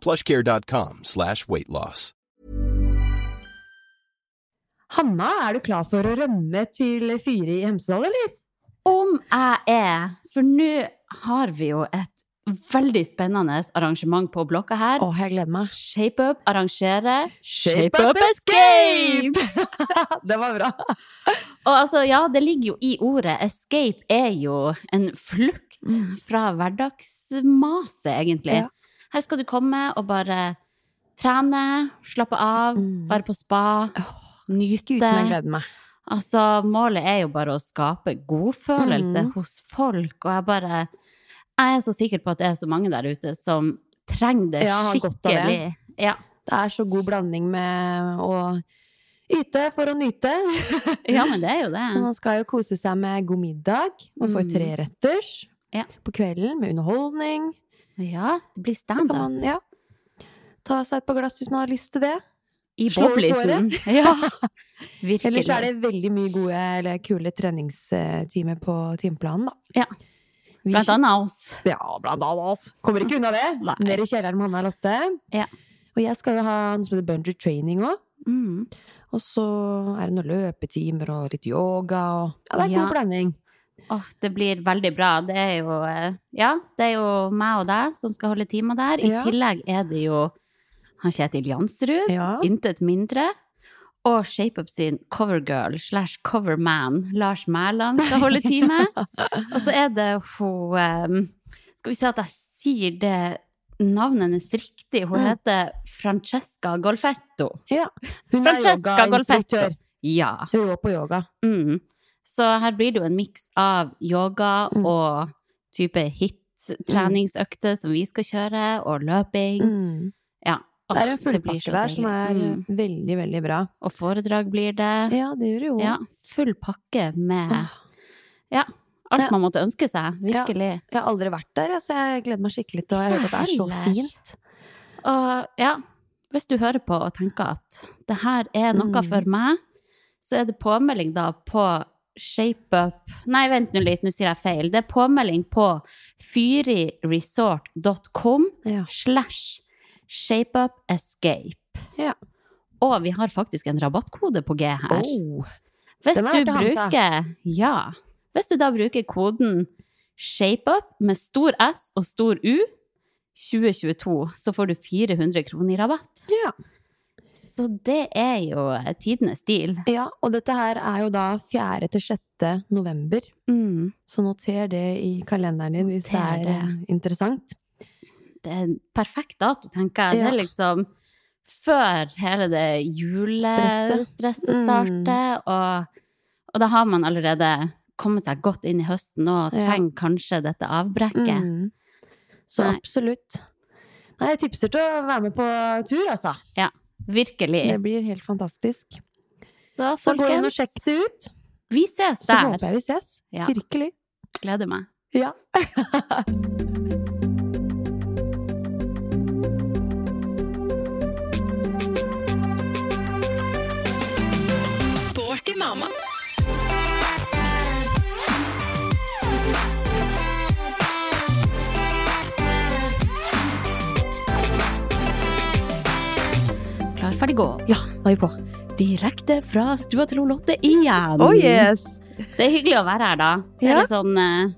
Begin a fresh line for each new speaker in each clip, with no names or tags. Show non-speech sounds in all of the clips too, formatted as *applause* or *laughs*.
plushcare.com slash weight loss.
Hanna, er du klar for å rømme til fyret i Hemsedal, eller?
Om jeg er, for nå har vi jo et veldig spennende arrangement på blokka her.
Åh, jeg gleder meg.
ShapeUp arrangerer
Shape Up Escape! *laughs* det var bra.
Og altså, ja, det ligger jo i ordet. Escape er jo en flukt
Mm.
fra hverdagsmaset, egentlig.
Ja.
Her skal du komme og bare trene, slappe av,
Mm.
være på spa, nyte.
Gud, som jeg gleder meg.
Altså, målet er jo bare å skape godfølelse
Mhm.
hos folk, og jeg bare Jeg er så sikker på at det er så mange der ute som trenger det
Ja, har godt av det.
skikkelig. Ja,
Det er så god blanding med å yte for å nyte. *laughs*
ja, men det er jo det.
Så man skal jo kose seg med god middag. Man får
Mm.
tre retters
Ja.
på kvelden med underholdning.
Ja, det blir
Så kan
standup
man ja, ta seg et par glass hvis man har lyst til det.
i
slå ut
boblisen.
*laughs*
Ja, virkelig.
Ellers er det veldig mye gode eller kule treningstimer på timeplanen, da.
Ja.
Vi
Blant annet oss.
Ja, blant annet. Altså. Kommer ikke unna det.
*laughs* Nei.
Ned i kjelleren med Hanna og Lotte.
Ja.
Og jeg skal jo ha noe som heter bungee training òg.
Mm.
Og så er det noen løpetimer og litt yoga og Ja, det er
Ja.
god blanding.
Åh, det blir veldig bra. Det er jo eh, Ja, det er jo meg og deg som skal holde timer der. I
Ja.
tillegg er det jo han Kjetil Jansrud.
Ja.
intet mindre. Og ShapeUp sin covergirl slash coverman Lars Mæland skal holde time.
*laughs*
Og så er det hun ehm, Skal vi se at jeg sier det navnet hennes riktig. Hun
Mm.
heter Francesca Golfetto.
ja. Hun er
Francesca
yogainstruktør.
Golfetto. Ja.
Hun går på yoga.
Mm. Så her blir det jo en miks av yoga
Mm.
og type hit-treningsøkter som vi skal kjøre, og løping.
Mm.
Ja.
Det er en
Åh, det blir så
fullpakke der som er
deilig. Mm.
veldig, veldig bra.
Og foredrag blir det.
Ja, det gjør det jo.
Ja, full pakke med
Åh.
ja, alt
Ja.
man måtte ønske seg. Virkelig.
Jeg har aldri vært der, jeg, så jeg gleder meg skikkelig til å Jeg
Ikke
hører at det er så
heller.
fint.
Og ja, hvis du hører på og tenker at det her er noe
Mm.
for meg, så er det påmelding da på ShapeUp Nei, vent nå litt, nå sier jeg feil. Det er påmelding på fyriresort.com
Ja.
slash shapeupescape.
Ja.
Og vi har faktisk en rabattkode på G her.
Oh.
Hvis
Den er verdt
du
å ha med seg.
bruker, ja, hvis du da bruker koden ShapeUp med stor S og stor U 2022, så får du 400 kroner i rabatt.
Ja.
Så det er jo tidenes deal.
ja, og dette her er jo da 4. til 6. november.
Mm,
Så noter det i kalenderen din hvis det
Noter
er eh, interessant.
det er en perfekt dato, tenker jeg. Det
Ja.
er liksom før hele det
Stresset.
julestresset
Mm.
starter, og, og da har man allerede kommet seg godt inn i høsten og
Ja.
trenger kanskje dette avbrekket.
Mm. Så
Nei.
absolutt. Nei, jeg tipser til å være med på tur, altså.
Virkelig.
Det blir helt fantastisk.
Så
Så gå inn og
folkens,
sjekk det ut,
vi ses
så
der.
håper jeg vi ses.
Ja.
Virkelig.
Gleder meg.
Ja.
Sporty mamma.
Klar, ferdig, gå.
Da er vi på.
Direkte fra stua til Lotte igjen. Det er hyggelig å være her, da.
Oh,
Det er
Ja.
litt sånn eh,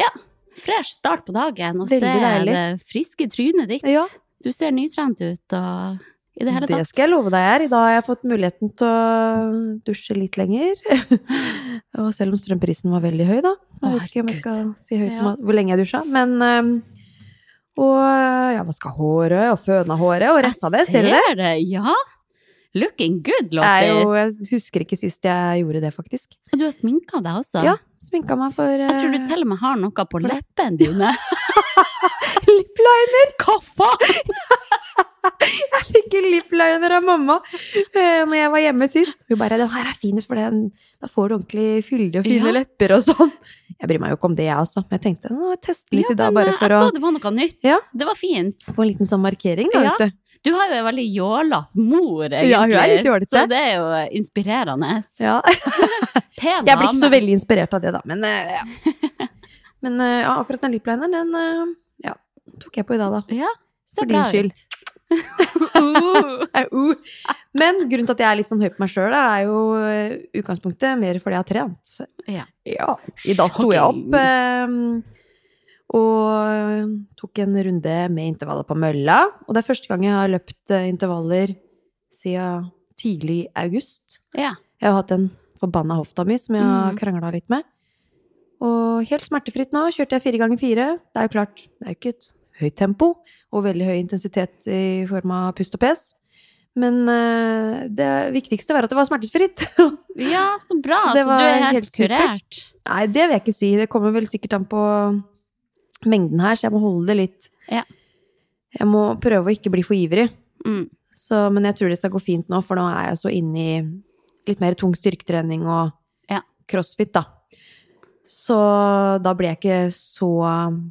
ja, fresh start på dagen. Og
Veldig
se
deilig.
det friske trynet ditt.
Ja.
Du ser nytrent ut og i det hele
Det
tatt.
skal jeg love deg her. I dag har jeg fått muligheten til å dusje litt lenger. *laughs* Og selv om strømprisen var veldig høy, da. Så jeg
Å,
vet ikke om jeg skal
herregud.
si høyt om
Ja.
at- hvor lenge jeg dusja. Men øhm, Og øh, jeg vaska håret, og føna håret, og retta det. Ser du det?
ser det. Ja. Looking good,
Jeg, er jo,
Lottis.
jeg husker ikke sist jeg gjorde det, faktisk.
Og du har sminka deg også.
Ja, sminka meg for
Jeg tror du
øh,
til og med har noe på leppene dine.
lip liner! Kaffa! *laughs* Jeg fikk en lipliner av mamma eh, når jeg var hjemme sist. Hun bare 'Den her er finest, for den, da får du ordentlig fyldige og fine
Ja.
lepper' og sånn. Jeg bryr meg jo ikke om det, jeg også, men jeg tenkte nå teste litt i dag,
men,
bare
eh,
for
jeg
å
så det var noe nytt.
Ja.
Det var fint.
få en liten sånn markering. Da,
Ja.
vet du.
Du har jo en veldig jålete mor, egentlig.
Ja, hun er litt jålete.
Så det er jo eh, inspirerende.
Ja. *laughs*
Pen
Jeg blir ikke så
dame.
veldig inspirert av det, da, men eh, ja.
*laughs*
Men eh, ja, akkurat den liplineren, den eh, ja, tok jeg på i dag, da.
Ja, det
For
er bra
din skyld.
ut. *laughs* Uh,
*laughs* Eh, uh. Men grunnen til at jeg er litt sånn høy på meg sjøl, er jo eh, utgangspunktet mer fordi jeg har trent.
Ja.
Ja. I dag sto jeg opp eh, og tok en runde med intervallet på mølla. Og det er første gang jeg har løpt eh, intervaller siden tidlig august.
Ja.
Jeg har hatt den forbanna hofta mi som jeg har
Mm.
krangla litt med. Og helt smertefritt nå kjørte jeg fire ganger fire. Det er jo klart, det er jo ikke et høyt tempo og veldig høy intensitet i form av pust og pes. Men eh, det viktigste var at det var smertefritt. *laughs*
ja, så bra.
Så
Så,
det
du
var
er helt,
helt supert.
kurert.
Nei, det vil jeg ikke si. Det kommer vel sikkert an på mengden her, så jeg må holde det litt.
Ja.
Jeg må prøve å ikke bli for ivrig.
Mm.
Så, men jeg tror det skal gå fint nå, for nå er jeg så inne i litt mer tung styrketrening og
Ja.
crossfit, da. Så da blir jeg ikke så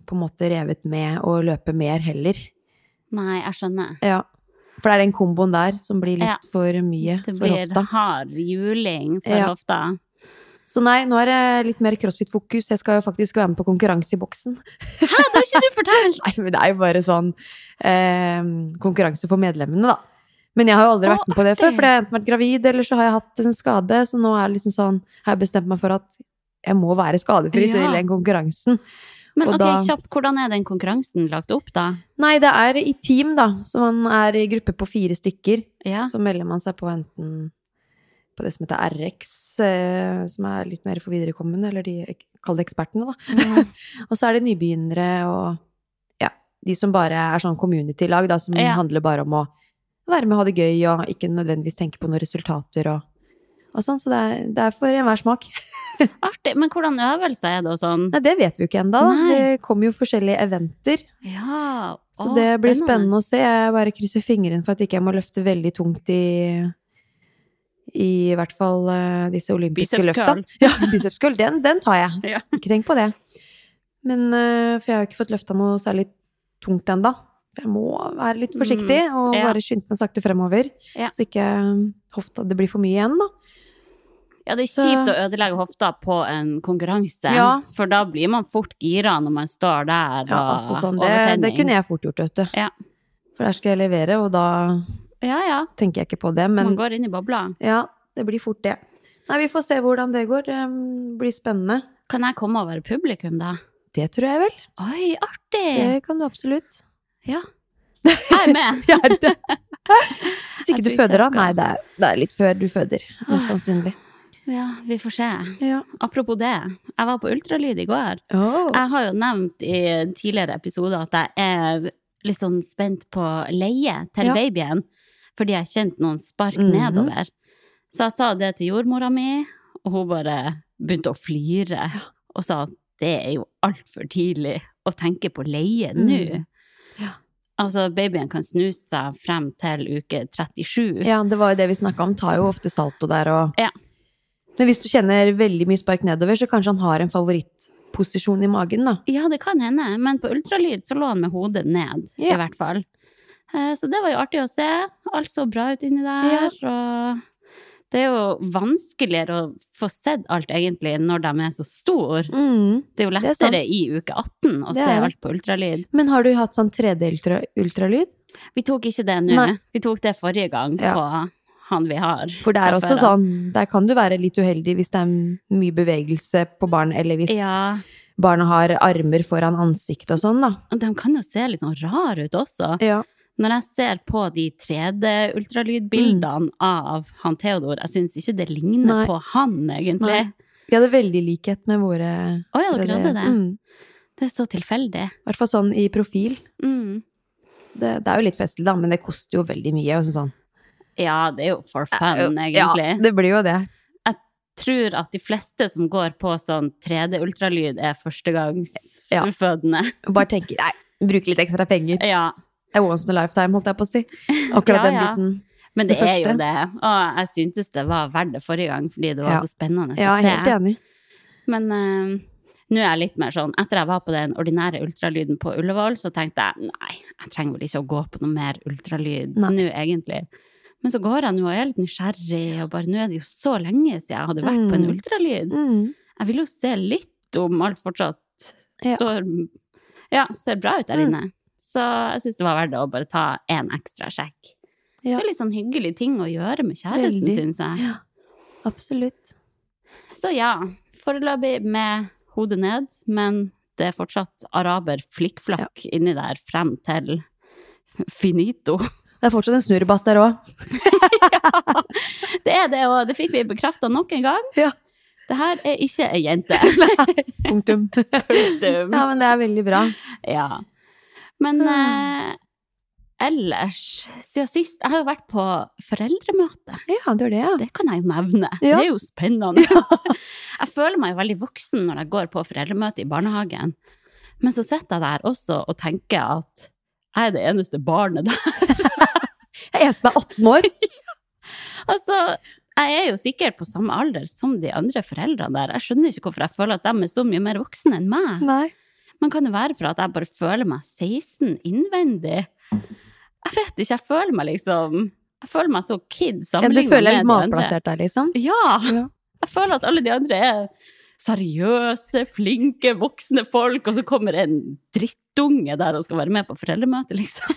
på en måte revet med å løpe mer heller.
Nei, jeg skjønner.
Ja. For det er den komboen der som blir litt
Ja.
for mye
Det
for
blir
hofta.
hard juling for
Ja.
hofta.
Så nei, nå er det litt mer crossfit-fokus. Jeg skal jo faktisk være med på konkurranse i boksen.
Hæ, det har ikke du fortalt!
Nei, men det er jo bare sånn eh, konkurranse for medlemmene, da. Men jeg har jo aldri
Å,
vært med på det før,
artig.
for jeg har enten vært gravid, eller så har jeg hatt en skade. Så nå er det liksom sånn, har jeg bestemt meg for at jeg må være skadefri
Ja.
til den konkurransen. *laughs*
Men
Og
ok,
da-
kjapt, hvordan er den konkurransen lagt opp, da?
Nei, det er i team, da. Så man er i gruppe på fire stykker.
Ja.
Så melder man seg på enten på det som heter RX, eh, som er litt mer for viderekommende, eller de kall det ekspertene, da. Og så er det nybegynnere og ja, de som bare er sånn community-lag, da, som
Ja.
handler bare om å være med og ha det gøy, og ikke nødvendigvis tenke på noen resultater og, og sånn. Så det er, det er for enhver smak.
Artig. Men hvordan øvelser er det og sånn?
Nei, det vet vi jo ikke ennå, da.
Nei.
Det kommer jo forskjellige eventer,
Ja.
så
å,
det blir spennende å se. Jeg bare krysser fingrene for at ikke jeg må løfte veldig tungt i i hvert fall eh, disse olympiske
Biceps
løfta.
curl.
Ja, *laughs* biceps curl, den, den tar jeg.
Ja.
Ikke tenk på det. Men eh, For jeg har jo ikke fått løfta noe særlig tungt ennå. Jeg må være litt forsiktig og
Mm. ja.
bare skynde meg sakte fremover.
Ja.
Så ikke eh, hofta det blir for mye igjen, da.
Ja, det er
Så-
kjipt å ødelegge hofta på en konkurranse,
Ja.
for da blir man fort gira når man står der Ah, og
Ja, altså sånn, det, det kunne jeg fort gjort, vet du.
Ja.
For der skal jeg levere, og da
Ja, ja.
tenker jeg ikke på det. Men
man går inn i bobla.
ja, det blir fort det. Nei, vi får se hvordan det går. Det blir spennende.
Kan jeg komme og være publikum, da?
Det tror jeg vel.
Oi, artig!
Det kan du absolutt.
Jeg er med!
*laughs* Ja, det. Hvis ikke
Jeg
du
tror ikke
føder, da?
jeg skal.
Nei, det er, det er litt før du føder. Mest sannsynlig.
Ja, vi får se.
Ja.
Apropos det, jeg var på ultralyd i går.
Oh.
Jeg har jo nevnt i en tidligere episode at jeg er litt sånn spent på leie til
Ja.
babyen, fordi jeg kjente noen spark
Mhm.
nedover. Så jeg sa det til jordmora mi, og hun bare begynte å flire og sa at det er jo altfor tidlig å tenke på leie nå.
Mm. Ja.
Altså, babyen kan snu seg frem til uke 37.
Ja, det var jo det vi snakka om. Tar jo ofte salto der og
Ja.
Men hvis du kjenner veldig mye spark nedover, så kanskje han har en favorittposisjon i magen, da.
Ja, det kan hende, men på ultralyd så lå han med hodet ned,
Ja.
i hvert fall. Eh, Så det var jo artig å se. Alt så bra ut inni der, og det er jo vanskeligere å få sett alt, egentlig, når de er så store.
Mm.
Det er jo
Det er
lettere
sant.
i uke 18 å
Det
se
er det.
alt på ultralyd.
Men har du hatt sånn 3D-ultralyd?
Vi tok ikke det nå.
Nei.
Vi tok det forrige gang
Ja.
på han vi har.
For det er
Fra
også
før av.
sånn, der kan du være litt uheldig hvis det er mye bevegelse på barn, eller hvis
Ja,
barnet har armer foran ansiktet og sånn, da.
og de kan jo se litt sånn rare ut også.
Ja.
Når jeg ser på de 3D-ultralydbildene av han Theodor, jeg syns ikke det ligner
Nei.
på han, egentlig.
Vi hadde veldig likhet med våre
Å ja, dere hadde det?
Mm.
Det er så tilfeldig.
I hvert fall sånn i profil.
Mm.
Så det, det er jo litt festlig, da, men det koster jo veldig mye. Og sånn.
Ja, det er jo for fun, egentlig.
Eh, Ja, det blir jo det.
Tror at de fleste som går på sånn 3D-ultralyd,
Ja.
er førstegangsfødende.
Og bare tenker nei, bruke litt ekstra penger.
Ja.
Det er once in a lifetime, holdt jeg på å si. Akkurat
Ja,
den
ja.
biten.
Men det,
Det
er jo
første.
det. Og jeg syntes det var verdt det forrige gang, fordi det var
Ja.
så spennende
Ja,
å
helt
se.
enig.
Men eh, nå er jeg litt mer sånn Etter jeg var på den ordinære ultralyden på Ullevål, så tenkte jeg nei, jeg trenger vel ikke å gå på noe mer ultralyd
Nei.
nå, egentlig. Men så går jeg nå og er litt nysgjerrig, og bare nå er det jo så lenge siden jeg hadde vært på en
Mm.
ultralyd.
Mm.
Jeg vil jo se litt om alt fortsatt
Ja.
står Ja, ser bra ut der
Mm.
inne. Så jeg syns det var verdt å bare ta en ekstra sjekk. Det
Ja.
er litt sånn hyggelig ting å gjøre med kjæresten,
Veldig.
syns jeg.
Ja, absolutt.
Så ja, foreløpig med hodet ned, men det er fortsatt araber flikkflakk inni der frem til finito. *laughs*
Det er fortsatt en snurrebass der òg.
Det er det, og det fikk vi bekrefta nok en gang.
Ja.
Det her er ikke ei jente.
*laughs* Punktum.
Punktum.
Ja, men det er veldig bra.
Ja. Men
Mm.
eh, ellers, siden sist Jeg har jo vært på foreldremøte.
Ja, du gjør det, ja.
Det kan jeg jo nevne.
Ja.
Det er jo spennende. *laughs* Jeg føler meg jo veldig voksen når jeg går på foreldremøte i barnehagen. Men så sitter jeg der også og tenker at jeg er det eneste barnet der. *laughs*
Jeg er en som er 18 år.
Altså, jeg er jo sikkert på samme alder som de andre foreldrene der. Jeg skjønner ikke hvorfor jeg føler at de er så mye mer voksne enn meg.
Nei.
Men kan det være for at jeg bare føler meg 16 innvendig? Jeg vet ikke, jeg føler meg liksom Jeg føler meg så kid
Ja, du
sammenlignet
føler deg litt
de andre.
malplassert der, liksom?
Ja!
Ja.
Jeg føler at alle de andre er seriøse, flinke, voksne folk, og så kommer en drittunge der og skal være med på foreldremøte, liksom.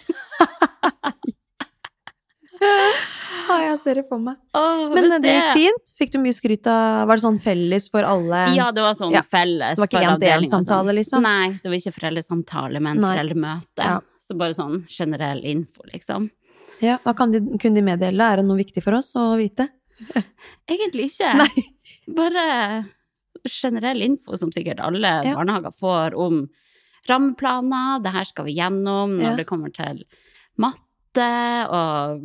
Ja, jeg ser det for meg.
Åh,
Men eh,
hvis
det gikk fint? Fikk du mye skryt av Var det sånn felles for alle?
Ja, det var sånn
Ja.
felles.
Det var ikke
for avdeling og sånn.
én-til-én-samtale, liksom?
Nei, det var ikke foreldresamtale, men
Nei.
foreldremøte.
Ja.
Så bare sånn generell info, liksom.
Ja, hva kan de, kunne de meddele? Er det noe viktig for oss å vite?
Egentlig ikke. Bare generell info som sikkert alle
Ja.
barnehager får om rammeplaner, det her skal vi gjennom når
Ja.
det kommer til matte og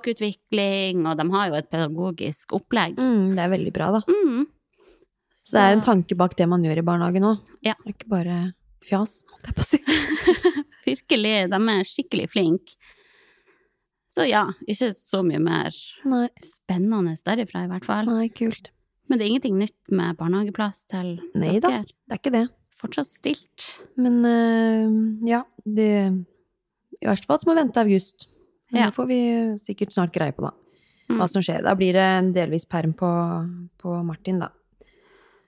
språkutvikling, og de har jo et pedagogisk opplegg.
Mm, det er veldig bra, da.
Mm.
Så det er en tanke bak det man gjør i barnehagen òg.
Ja.
Det er ikke bare fjas, holdt jeg på å si.
Virkelig, de er skikkelig flinke. Så ja, ikke så mye mer
*laughs* Nei,
spennende derifra i hvert fall.
nei, kult.
Men det er ingenting nytt med barnehageplass til
Nei da.
dere.
Det er ikke det.
Fortsatt stilt.
Men eh, ja, det I verste fall så må vi vente august. Men
Ja.
det får vi sikkert snart greie på, da.
Mm.
Hva som skjer. Da blir det en delvis perm på, på Martin, da.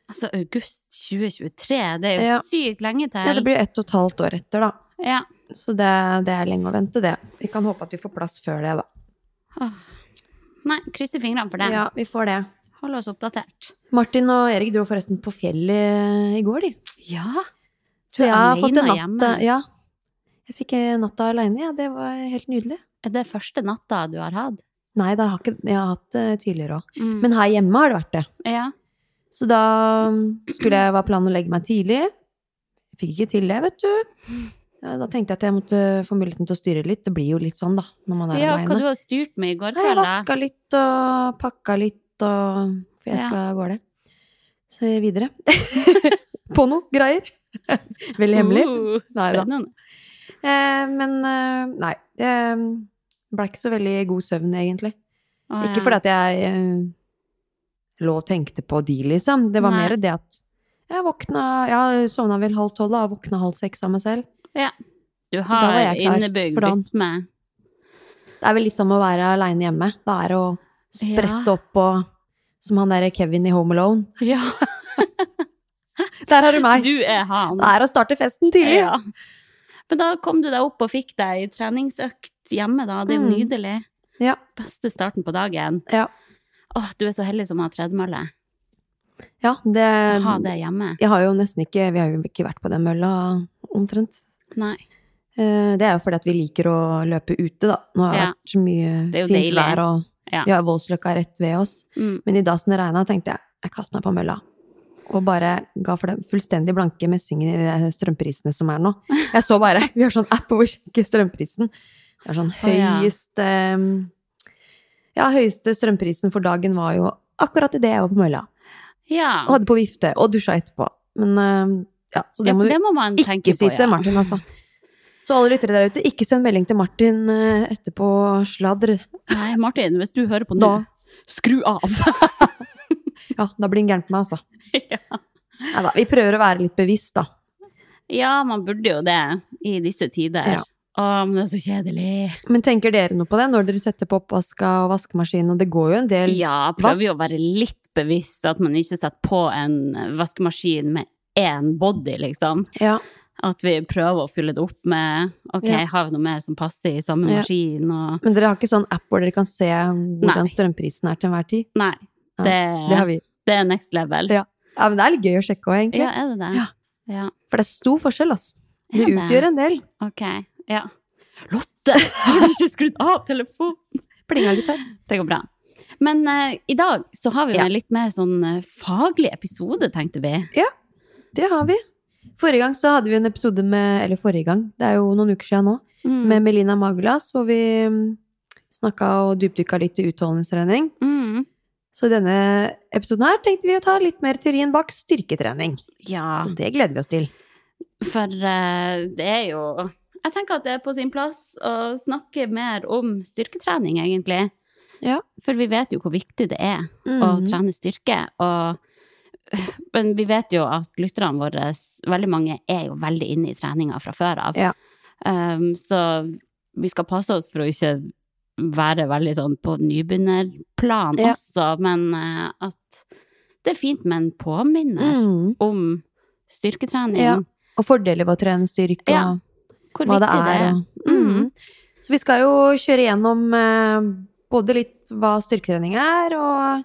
Altså, august 2023, det er jo
Ja.
sykt lenge til.
Ja, det blir ett og et halvt år etter, da.
Ja.
Så det, det er lenge å vente, det. Vi kan håpe at vi får plass før det, da.
Åh. Nei, krysser fingrene for det.
Ja, vi får det.
Hold oss oppdatert.
Martin og Erik dro forresten på fjellet i går, de.
Ja. Du
Så
er
jeg har fått en
alene
natt
hjemme.
Ja. Jeg fikk en natt aleine, ja. Det var helt nydelig.
Er det første natta du har hatt?
Nei, da har ikke, jeg har hatt det tidligere òg.
Mm.
Men her hjemme har det vært det.
ja.
Så da mm, skulle jeg, var planen å legge meg tidlig. Fikk ikke til det, vet du. Ja, Da tenkte jeg at jeg måtte eh, få muligheten til å styre litt. Det blir jo litt sånn, da, når man er
ja, hva du
aleine.
har styrt med i går
Jeg
kveld? da?
vaska litt og pakka litt og For jeg
Ja.
skal av gårde. Så videre. *laughs* På noe greier. *laughs* Veldig hemmelig.
Uh,
Nei da.
spennende.
Eh, men eh, nei. Det ble ikke så veldig god søvn, egentlig.
Å,
Ikke
ja.
fordi at jeg eh, lå og tenkte på de, liksom. Det var
Nei.
mer det at jeg våkna Jeg sovna vel halv tolv da, og våkna halv seks av meg selv.
Du
da var
har
jeg klar
innebygd
for dagen.
rytme.
Det er vel litt som å være aleine hjemme. Det er å sprette opp og Som han derre Kevin i Home Alone. *laughs*
Ja.
Der har du meg!
Du er han.
Det er å starte festen tidlig!
Ja. Men da kom du deg opp og fikk deg treningsøkt hjemme, da. Det er jo
Mm.
nydelig.
Ja.
Beste starten på dagen.
Ja.
Åh, du er så heldig som har tredemølle.
Ja, det,
Ha det hjemme.
Jeg har jo nesten ikke Vi har jo ikke vært på den mølla, omtrent.
Nei.
Eh, Det er jo fordi at vi liker å løpe ute, da. Nå har det
Ja.
vært så mye
Det er jo
fint
deilig.
vær, og
Ja.
vi har Voldsløkka rett ved oss.
Mm.
Men i dag som det regna, tenkte jeg jeg kaster meg på mølla. Og bare ga for den fullstendig blanke messingen i de der strømprisene som er nå. Jeg så bare *laughs* Vi har sånn app hvor vi sjekker strømprisen. Det er sånn
Å, ja.
høyest eh, Ja, høyeste strømprisen for dagen var jo akkurat idet jeg var på mølla.
Ja.
Og hadde på vifte, og dusja etterpå. Men eh, ja, så
ja,
det må
for
du
det må man
ikke
tenke
si
på,
til
ja.
Martin, altså. Så alle lyttere der ute, ikke send melding til Martin eh, etterpå sladder.
Nei, Martin, hvis du hører på nå,
Da.
skru av!
Ja, da blir han gæren på meg, altså.
*laughs* Ja.
Neida, vi prøver å være litt bevisst, da.
ja, man burde jo det i disse tider.
Ja.
Å, men det er så kjedelig.
Men tenker dere noe på det når dere setter på oppvaska og vaskemaskinen, og det går jo en del
Ja,
Vask.
prøver jo å være litt bevisst at man ikke setter på en vaskemaskin med én body, liksom.
Ja.
At vi prøver å fylle det opp med Ok,
Ja.
har vi noe mer som passer i samme
Ja.
maskin? Og
Men dere har ikke sånn app hvor dere kan se hvordan
Nei.
strømprisen er til enhver tid?
Nei.
Nei,
Det,
Det har vi.
det er next level.
Ja. Ja, men det er litt gøy å sjekke òg, egentlig.
Ja, er det det?
Ja.
Ja.
For det er stor forskjell, altså. Det
Er det?
utgjør en del.
Ok. Ja. Lotte, *laughs* har du ikke skrudd av telefonen?
Plinga litt her.
Det går bra. Men eh, i dag så har vi
Ja.
en litt mer sånn eh, faglig episode, tenkte vi.
Det har vi. Forrige gang så hadde vi en episode med Eller forrige gang, det er jo noen uker siden nå.
Mm.
Med Melina Magulas, hvor vi mm, snakka og dypdykka litt i utholdenhetstrening.
Mm.
Så i denne episoden her tenkte vi å ta litt mer teorien bak styrketrening.
Ja.
Så det gleder vi oss til.
For eh, det er jo Jeg tenker at det er på sin plass å snakke mer om styrketrening, egentlig.
Ja.
For vi vet jo hvor viktig det er å
Mhm.
trene styrke. Og, *laughs* men vi vet jo at lytterne våre, veldig mange, er jo veldig inne i treninga fra før av.
Ja.
Um, så vi skal passe oss for å ikke være veldig sånn på nybegynnerplan
Ja.
også, men eh, at det er fint med en påminner
Mm.
om styrketrening.
Ja. Og fordeler ved å trene styrke, og
Ja, Hvor
hva
viktig
det er. Og,
Mm.
mm. Så vi skal jo kjøre gjennom eh, både litt hva styrketrening er, og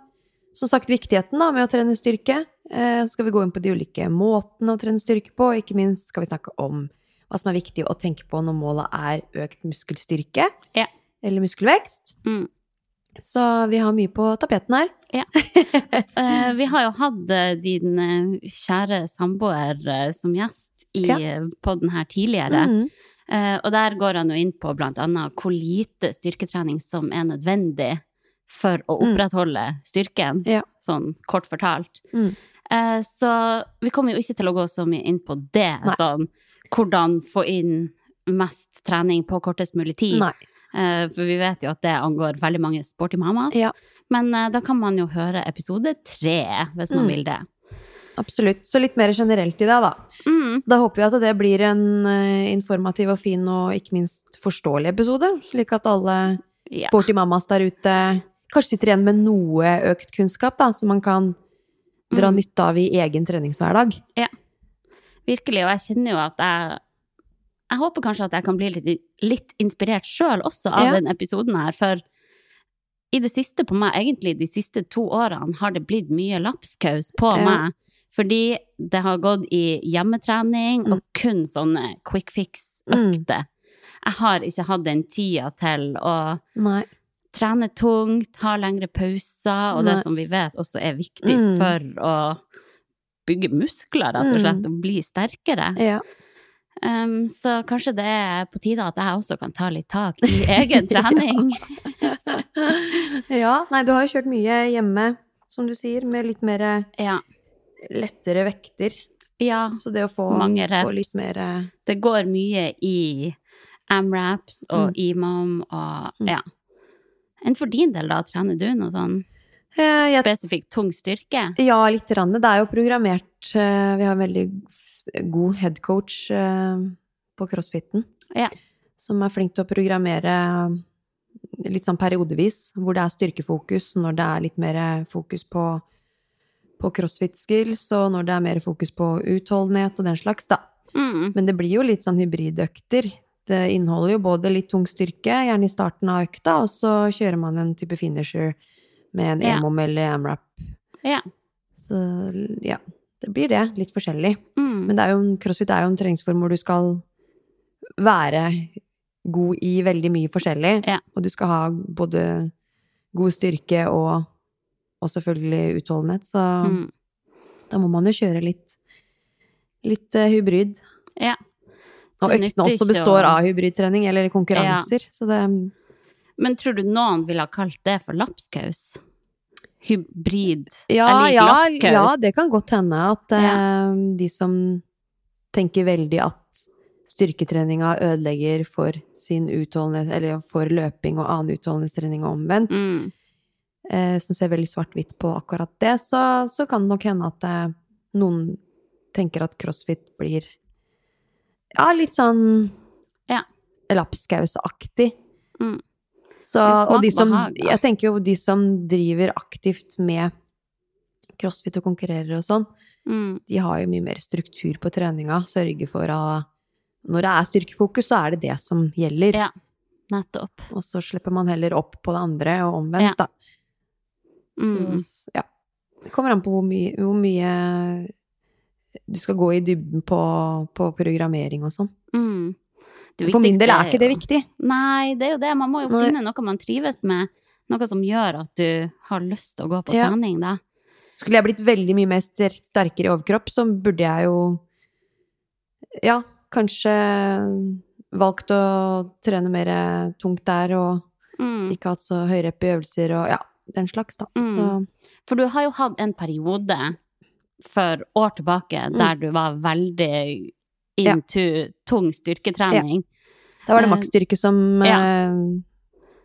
som sagt viktigheten da, med å trene styrke. Eh, så skal vi gå inn på de ulike måtene å trene styrke på, og ikke minst skal vi snakke om hva som er viktig å tenke på når målet er økt muskelstyrke
Ja.
eller muskelvekst.
Mm.
Så vi har mye på tapeten her.
Eh, vi har jo hatt eh, din eh, kjære samboer eh, som gjest i
Ja.
eh, podden her tidligere.
Mm.
Eh, og der går han jo inn på blant annet hvor lite styrketrening som er nødvendig for å
Mm.
opprettholde styrken,
Ja.
sånn kort fortalt.
Mm.
Eh, så vi kommer jo ikke til å gå så mye inn på det,
Nei.
sånn hvordan få inn mest trening på kortest mulig tid.
Nei.
Eh, for vi vet jo at det angår veldig mange sporty mamas.
Ja.
Men eh, da kan man jo høre episode tre, hvis man
Mm.
vil det.
Absolutt. Så litt mer generelt i dag, da.
Mm.
Så da håper vi at det blir en eh, informativ og fin og ikke minst forståelig episode, slik at alle
Ja.
sporty mammas der ute kanskje sitter igjen med noe økt kunnskap, da, som man kan dra
Mm.
nytte av i egen treningshverdag.
Virkelig, og jeg kjenner jo at jeg Jeg håper kanskje at jeg kan bli litt, litt inspirert sjøl også av
Ja.
den episoden her, for i det siste på meg, egentlig de siste to årene, har det blitt mye lapskaus på
Ja.
meg. Fordi det har gått i hjemmetrening
Mm.
og kun sånne quick fix-økter. Jeg har ikke hatt den tida til å
Nei.
trene tungt, ha lengre pauser, og
Nei.
det som vi vet også er viktig
Mm.
for å bygge muskler, rett og slett, og bli sterkere.
Ja.
Um, så kanskje det er på tide at jeg også kan ta litt tak i *laughs* egen
*laughs*
trening.
ja. Nei, du har jo kjørt mye hjemme, som du sier, med litt mer eh,
ja.
lettere vekter.
ja,
Så det å få,
Mange
få
reps.
litt mer eh,
det går mye i amraps og
Mm.
imam og
Mm.
ja. Enn for din del, da? Trener du noe sånn
eh, Jeg
spesifikt tung styrke?
Ja, litt. Rann. Det er jo programmert eh, Vi har en veldig f- god headcoach på crossfiten.
Ja.
Som er flink til å programmere litt sånn periodevis, hvor det er styrkefokus, når det er litt mer fokus på, på crossfit skills, og når det er mer fokus på utholdenhet og den slags, da.
Mm.
Men det blir jo litt sånn hybridøkter. Det inneholder jo både litt tung styrke, gjerne i starten av økta, og så kjører man en type finisher med en
Ja.
emom eller amrap.
Ja.
Så ja, det blir det. Litt forskjellig.
Mm.
Men det er jo en, crossfit er jo en treningsform hvor du skal være god i veldig mye forskjellig,
Ja.
og du skal ha både god styrke og, og selvfølgelig utholdenhet, så
Mm.
da må man jo kjøre litt, litt eh, hybrid.
Ja.
Og
Det
øktene
nytter
også
ikke å-
består av hybridtrening eller konkurranser. Så det
Men tror du noen ville ha kalt det for lapskaus? Hybrid
ja,
Jeg liker
ja,
lapskaus.
ja, det kan godt hende at eh, de som tenker veldig at styrketreninga ødelegger for sin utholdenhet, eller for løping og annen utholdenhetstrening og omvendt,
Mm.
eh, som ser veldig svart-hvitt på akkurat det, så, så kan det nok hende at eh, noen tenker at crossfit blir ja, litt sånn
Ja.
lapskausaktig.
Mm.
Så,
Det er
og de
smak
som,
behag, da.
jeg tenker jo de som driver aktivt med crossfit og konkurrerer og sånn,
Mm.
de har jo mye mer struktur på treninga. Sørger for å Når det er styrkefokus, så er det det som gjelder.
Ja. Nettopp.
Og så slipper man heller opp på det andre, og omvendt, da.
Mm.
Så, s- ja. Det kommer an på hvor mye, hvor mye du skal gå i dybden på, på programmering og sånn.
Mm. Det
For min
viktigste
del er ikke det
jo-
viktig.
Nei, det er jo det. Man må jo
Nei.
finne noe man trives med. Noe som gjør at du har lyst til å gå på
Ja.
trening, da.
Skulle jeg blitt veldig mye mer sterk, sterkere i overkropp, så burde jeg jo Ja, kanskje valgt å trene mer tungt der og
Mm.
ikke hatt så høyere i øvelser og ja, den slags, da.
Mm.
Så
For du har jo hatt en periode for år tilbake der du var veldig
Mm. Ja.
into tung styrketrening.
da var det
Eh,
maksstyrke som
ja.
eh,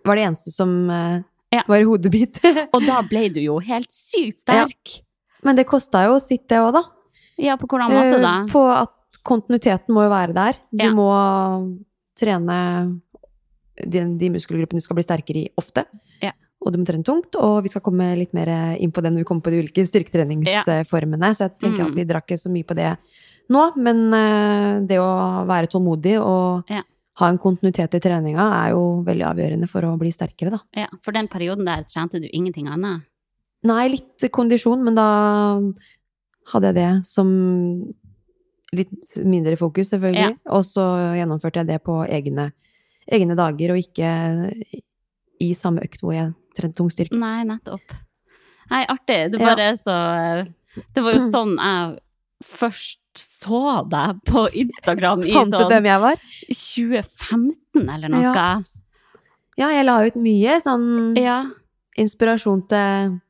var det eneste som eh,
Ja.
var i hodet mitt. *laughs*
Og da ble du jo helt sykt sterk.
Men det kosta jo sitt, det òg, da.
Ja, på hvordan måte
Eh,
da?
På at kontinuiteten må jo være der. Du
Ja.
må trene de, de muskelgruppene du skal bli sterkere i, ofte.
Ja.
Og du må trene tungt, og vi skal komme litt mer inn på det når vi kommer på de ulike styrketreningsformene. Så jeg tenker
Mm.
at vi drar ikke så mye på det nå, men eh, det å være tålmodig og
Ja.
ha en kontinuitet i treninga er jo veldig avgjørende for å bli sterkere, da.
Ja, for den perioden der trente du ingenting annet.
Nei, litt kondisjon, men da hadde jeg det som litt mindre fokus, selvfølgelig. Og så gjennomførte jeg det på egne, egne dager, og ikke i samme økt hvor jeg trente tung styrke.
Nei, nettopp. Nei, artig. Det
Ja.
bare er så eh, Det var jo
Mm.
sånn jeg først så deg på Instagram i
Fant ut
sånn
hvem jeg var?
2015 eller noe. Ja.
Ja, jeg la ut mye sånn inspirasjon til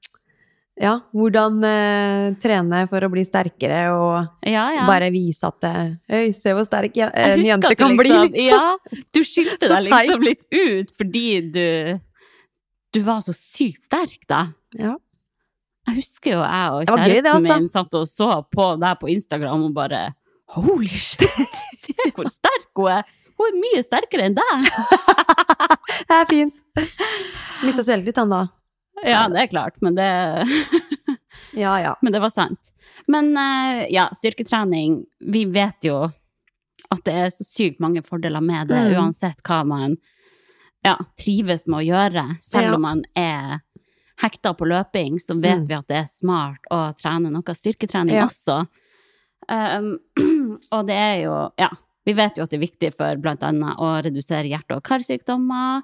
ja, hvordan eh, trene for å bli sterkere, og
Ja, ja.
bare eh, vise at eh, Øy, se hvor sterk je-
Jeg
en
husker at
jente
du
kan bli,
liksom-
liksom.
Ja, du skilte
*laughs* Så
deg liksom
teit.
litt ut fordi du Du var så sykt sterk, da.
Ja.
Jeg husker jo jeg og
Det var gøy, det,
kjæresten
altså.
min satt og så på deg på Instagram og bare Holy *laughs* shit, se hvor sterk hun er! Hun er mye sterkere enn deg!
*laughs* Det er fint. Mista selvtillit, han da.
Ja, det er klart, men det
Ja, ja.
Men det var sant. Men eh, ja, styrketrening Vi vet jo at det er så sykt mange fordeler med det,
Mm.
uansett hva man ja, trives med å gjøre. Selv
Ja.
om man er hekta på løping, så vet
Mm.
vi at det er smart å trene noe styrketrening
Ja.
også. Um, *clears throat* og det er jo Ja, vi vet jo at det er viktig for bl.a. å redusere hjerte- og karsykdommer.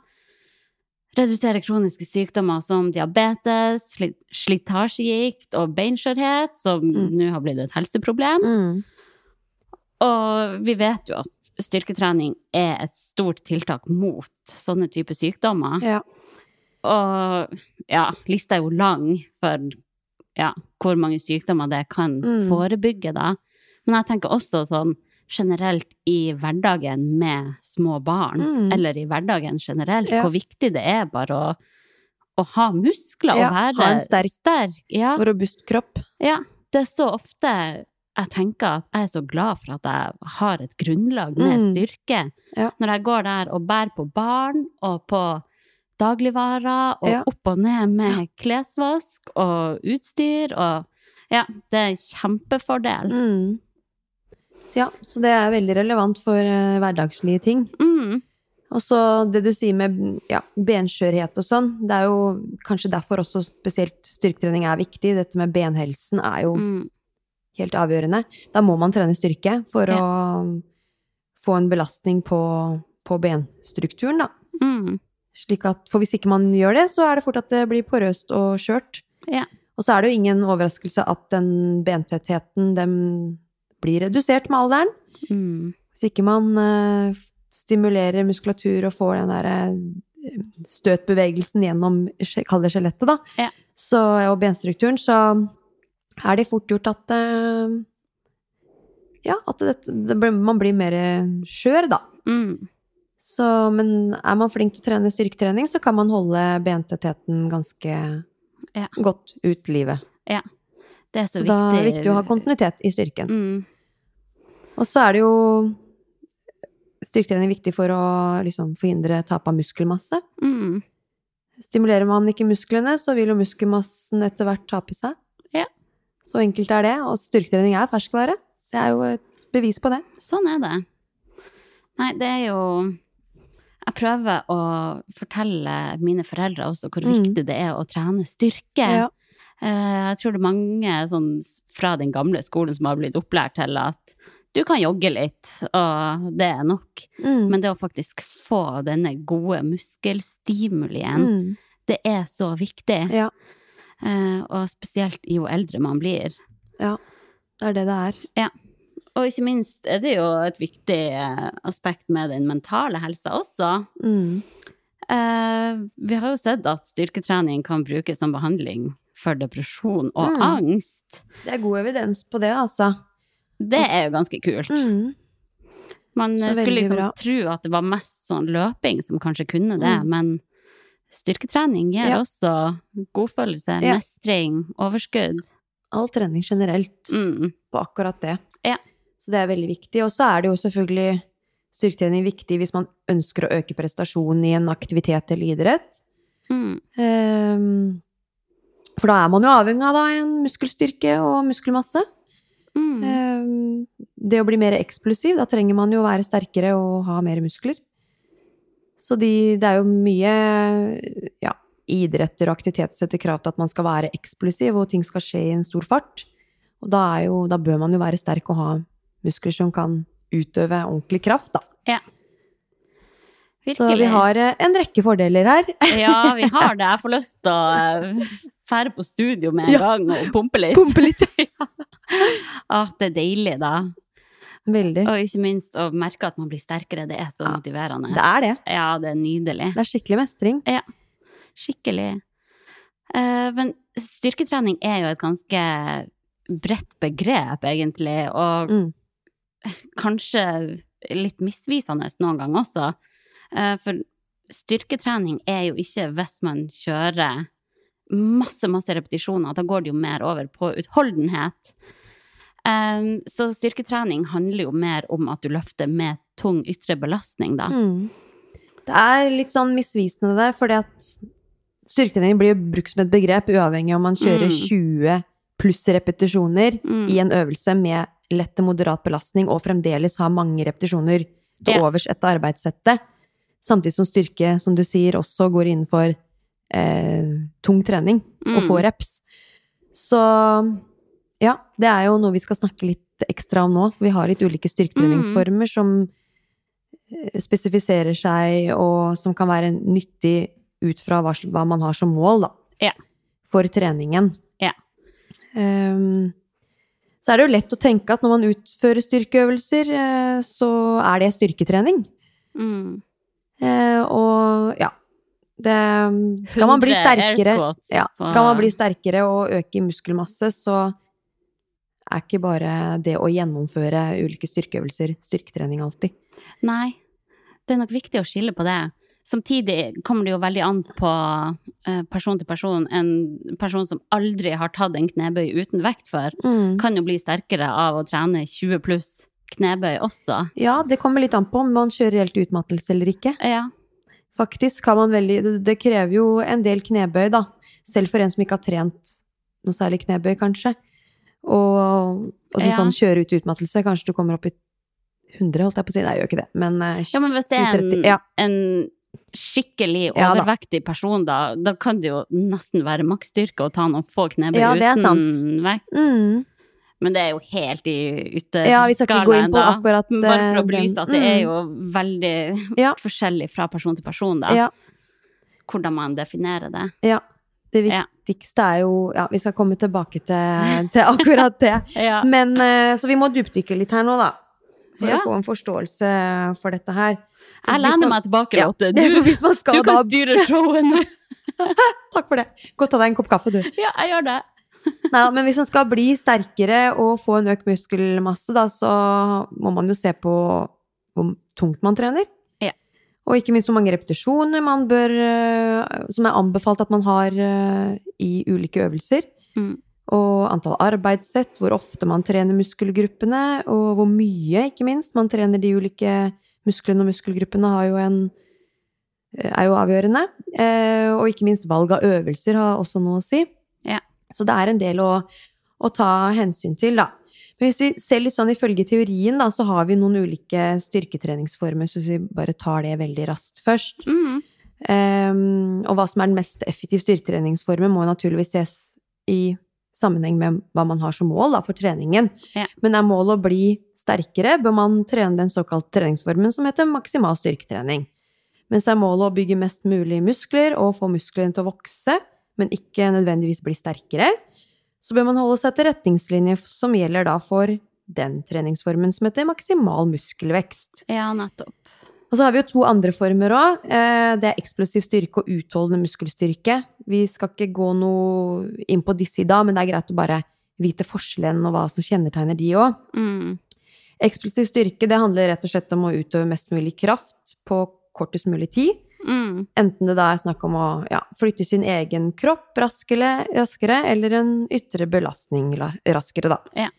Redusere kroniske sykdommer som diabetes, sli- slitasjegikt og beinskjørhet, som
Mm.
nå har blitt et helseproblem.
Mm.
Og vi vet jo at styrketrening er et stort tiltak mot sånne typer sykdommer.
Ja.
Og ja, lista er jo lang for ja, hvor mange sykdommer det kan
Mm.
forebygge, da. Men jeg tenker også sånn generelt i hverdagen med små barn,
Mm.
eller i hverdagen generelt,
Ja.
hvor viktig det er bare å, å ha muskler
Ja,
og være
ha en sterk-
Ja,
Og robust kropp.
ja. Det er så ofte jeg tenker at jeg er så glad for at jeg har et grunnlag med
Mm.
styrke.
Ja.
Når jeg går der og bærer på barn og på dagligvarer og
Ja.
opp og ned med klesvask og utstyr og Ja, det er en kjempefordel.
Mm. Så ja, så det er veldig relevant for eh, hverdagslige ting.
Mm.
Og så det du sier med ja, benskjørhet og sånn, det er jo kanskje derfor også spesielt styrketrening er viktig. Dette med benhelsen er jo
Mm.
helt avgjørende. Da må man trene styrke for
Ja.
å få en belastning på, på benstrukturen, da.
Mm.
Slik at, for hvis ikke man gjør det, så er det fort at det blir porøst og skjørt.
Ja.
Og så er det jo ingen overraskelse at den bentettheten den blir redusert med alderen.
Mm.
Hvis ikke man eh, f- stimulerer muskulatur og får den der eh, støtbevegelsen gjennom skje- kall det skjelettet, da,
Ja.
så, og benstrukturen, så er det fort gjort at eh, ja, at det, det, blir- man blir mer skjør, da.
Mm.
Så, men er man flink til å trene styrketrening, så kan man holde bentettheten ganske
Ja.
godt ut livet.
Det er så,
Så, da er det viktig å ha kontinuitet i styrken.
Mm.
Og så er det jo Styrketrening er viktig for å liksom, forhindre tap av muskelmasse.
Mm.
Stimulerer man ikke musklene, så vil jo muskelmassen etter hvert tape seg.
Ja.
Så enkelt er det. Og styrketrening er ferskvare. Det er jo et bevis på det.
Sånn er det. Nei, det er jo Jeg prøver å fortelle mine foreldre også hvor
Mm.
viktig det er å trene styrke.
Ja.
Eh, Jeg tror det er mange sånn, s- fra den gamle skolen som har blitt opplært til at du kan jogge litt, og det er nok.
Mm.
Men det å faktisk få denne gode muskelstimulien,
mm.
det er så viktig.
Ja.
Eh, Og spesielt jo eldre man blir.
Det er det det er.
Og ikke minst er det jo et viktig eh, aspekt med den mentale helsa også.
Mm.
Eh, vi har jo sett at styrketrening kan brukes som behandling for depresjon og
Mm.
angst.
Det er god evidens på det, altså.
Det er jo ganske kult.
Mm.
Man
så
eh, skulle
veldig
liksom
bra.
tro at det var mest sånn løping som kanskje kunne det,
Mm.
men styrketrening gir
Ja.
også godfølelse,
Ja.
mestring, overskudd.
All trening generelt
Mm.
på akkurat det.
Ja.
Så det er veldig viktig. Og så er det jo selvfølgelig styrketrening viktig hvis man ønsker å øke prestasjonen i en aktivitet eller idrett.
Mm.
Ehm, for da er man jo avhengig av da, en muskelstyrke og muskelmasse.
Mm.
Ehm, det å bli mer eksplosiv, da trenger man jo å være sterkere og ha mer muskler. Så de, det er jo mye ja, idretter og aktiviteter setter krav til at man skal være eksplosiv, og ting skal skje i en stor fart. Og da, er jo, da bør man jo være sterk og ha muskler som kan utøve ordentlig kraft, da. Så vi
Virkelig.
har eh, en rekke fordeler her.
Ja, vi har det. Jeg får lyst til å eh, fære på studio med en
Ja.
gang og pumpe litt.
Pumpe
*laughs*
litt!
At det er deilig, da.
Veldig.
Og ikke minst å merke at man blir sterkere. Det er så
Ja,
motiverende.
Det er det.
Ja, det er nydelig.
Det er skikkelig mestring.
Skikkelig. Eh, men styrketrening er jo et ganske bredt begrep, egentlig, og
Mm.
kanskje litt misvisende noen ganger også. Eh, for styrketrening er jo ikke hvis man kjører masse, masse repetisjoner. Da går det jo mer over på utholdenhet. Eh, så styrketrening handler jo mer om at du løfter med tung ytre belastning, da.
Mm. Det er litt sånn misvisende det, fordi at styrketrening blir jo brukt som et begrep uavhengig om man kjører
Mm.
20 pluss repetisjoner
Mm.
i en øvelse med lett til moderat belastning og fremdeles har mange repetisjoner til
Ja.
overs etter arbeidssettet. Samtidig som styrke, som du sier, også går innenfor eh, tung trening og
Mm.
få reps. Så ja, det er jo noe vi skal snakke litt ekstra om nå, for vi har litt ulike
Mm.
styrketreningsformer som eh, spesifiserer seg, og som kan være nyttig ut fra hva, sl- hva man har som mål, da.
Ja.
For treningen.
Ja.
Ehm, så er det jo lett å tenke at når man utfører styrkeøvelser, eh, så er det styrketrening.
Mm.
Eh, og ja det, ehm, Skal man bli
100
sterkere
air squats
ja,
på-
skal man bli sterkere og øke i muskelmasse, så er ikke bare det å gjennomføre ulike styrkeøvelser styrketrening alltid.
Nei, det er nok viktig å skille på det. Samtidig kommer det jo veldig an på eh, person til person. En person som aldri har tatt en knebøy uten vekt før,
Mm.
kan jo bli sterkere av å trene 20 pluss knebøy også.
Ja, det kommer litt an på om man kjører helt utmattelse eller ikke.
Ja.
Faktisk kan man veldig det- Det krever jo en del knebøy, da. Selv for en som ikke har trent noe særlig knebøy, kanskje. Og altså,
Ja.
sånn kjøre ut utmattelse, kanskje du kommer opp i 100, holdt jeg på å si. Nei, jeg gjør ikke det. Men eh,
ja, men hvis det er
30,
en,
ja.
en skikkelig
Ja da.
overvektig person, da, da kan det jo nesten være maksstyrke å ta noen få knebøy
Ja, det er
uten
sant.
vekt.
mm.
Men det er jo helt i
Ja, vi skal ikke gå inn
ytterskalaen,
på
da.
akkurat
Men
eh,
Bare for å
den.
belyse at det
Mm.
er jo veldig
*laughs* Ja.
forskjellig fra person til person, da.
Ja,
Hvordan man definerer det.
ja. Det
Ja.
viktigste er jo Ja, vi skal komme tilbake til, til akkurat det.
*laughs* Ja.
Men, eh, så vi må dypdykke litt her nå, da. For
Ja.
å få en forståelse for dette her.
Jeg
Hvis
lener
man-
meg tilbake,
Ja, *laughs*
Lotte.
det-
Du,
hvis man skal
du
da
kan
*laughs*
styre showet nå.
Takk for det. Gå og ta deg en kopp kaffe, du.
Ja, jeg gjør det.
Neida, men hvis man skal bli sterkere og få en økt muskelmasse, da, så må man jo se på hvor tungt man trener.
Ja.
Og ikke minst hvor mange repetisjoner man bør eh, Som er anbefalt at man har eh, i ulike øvelser.
Mm.
Og antall arbeidssett, hvor ofte man trener muskelgruppene, og hvor mye, ikke minst, man trener de ulike musklene og muskelgruppene har jo en, er jo avgjørende. Eh, og ikke minst valg av øvelser har også noe å si.
Ja.
Så det er en del å, å ta hensyn til, da. Men hvis vi ser litt sånn ifølge teorien, da, så har vi noen ulike styrketreningsformer, så hvis vi bare tar det veldig raskt først.
Mm.
Eh, og hva som er den mest effektive styrketreningsformen, må jo naturligvis ses i sammenheng med hva man har som mål da, for treningen.
Ja.
Men er målet å bli sterkere, bør man trene den såkalte treningsformen som heter maksimal styrketrening. Mens er målet å bygge mest mulig muskler og få musklene til å vokse, men ikke nødvendigvis bli sterkere, så bør man holde seg til retningslinjer som gjelder da for den treningsformen som heter maksimal muskelvekst.
Ja, nettopp.
Og så har vi jo to andre former òg. Det er eksplosiv styrke og utholdende muskelstyrke. Vi skal ikke gå noe inn på disse i dag, men det er greit å bare vite forskjellen og hva som kjennetegner de òg.
Mm.
Eksplosiv styrke det handler rett og slett om å utøve mest mulig kraft på kortest mulig tid.
Mm.
Enten det da er snakk om å ja, flytte sin egen kropp raskere, raskere eller en ytre belastning la- raskere, da.
Ja.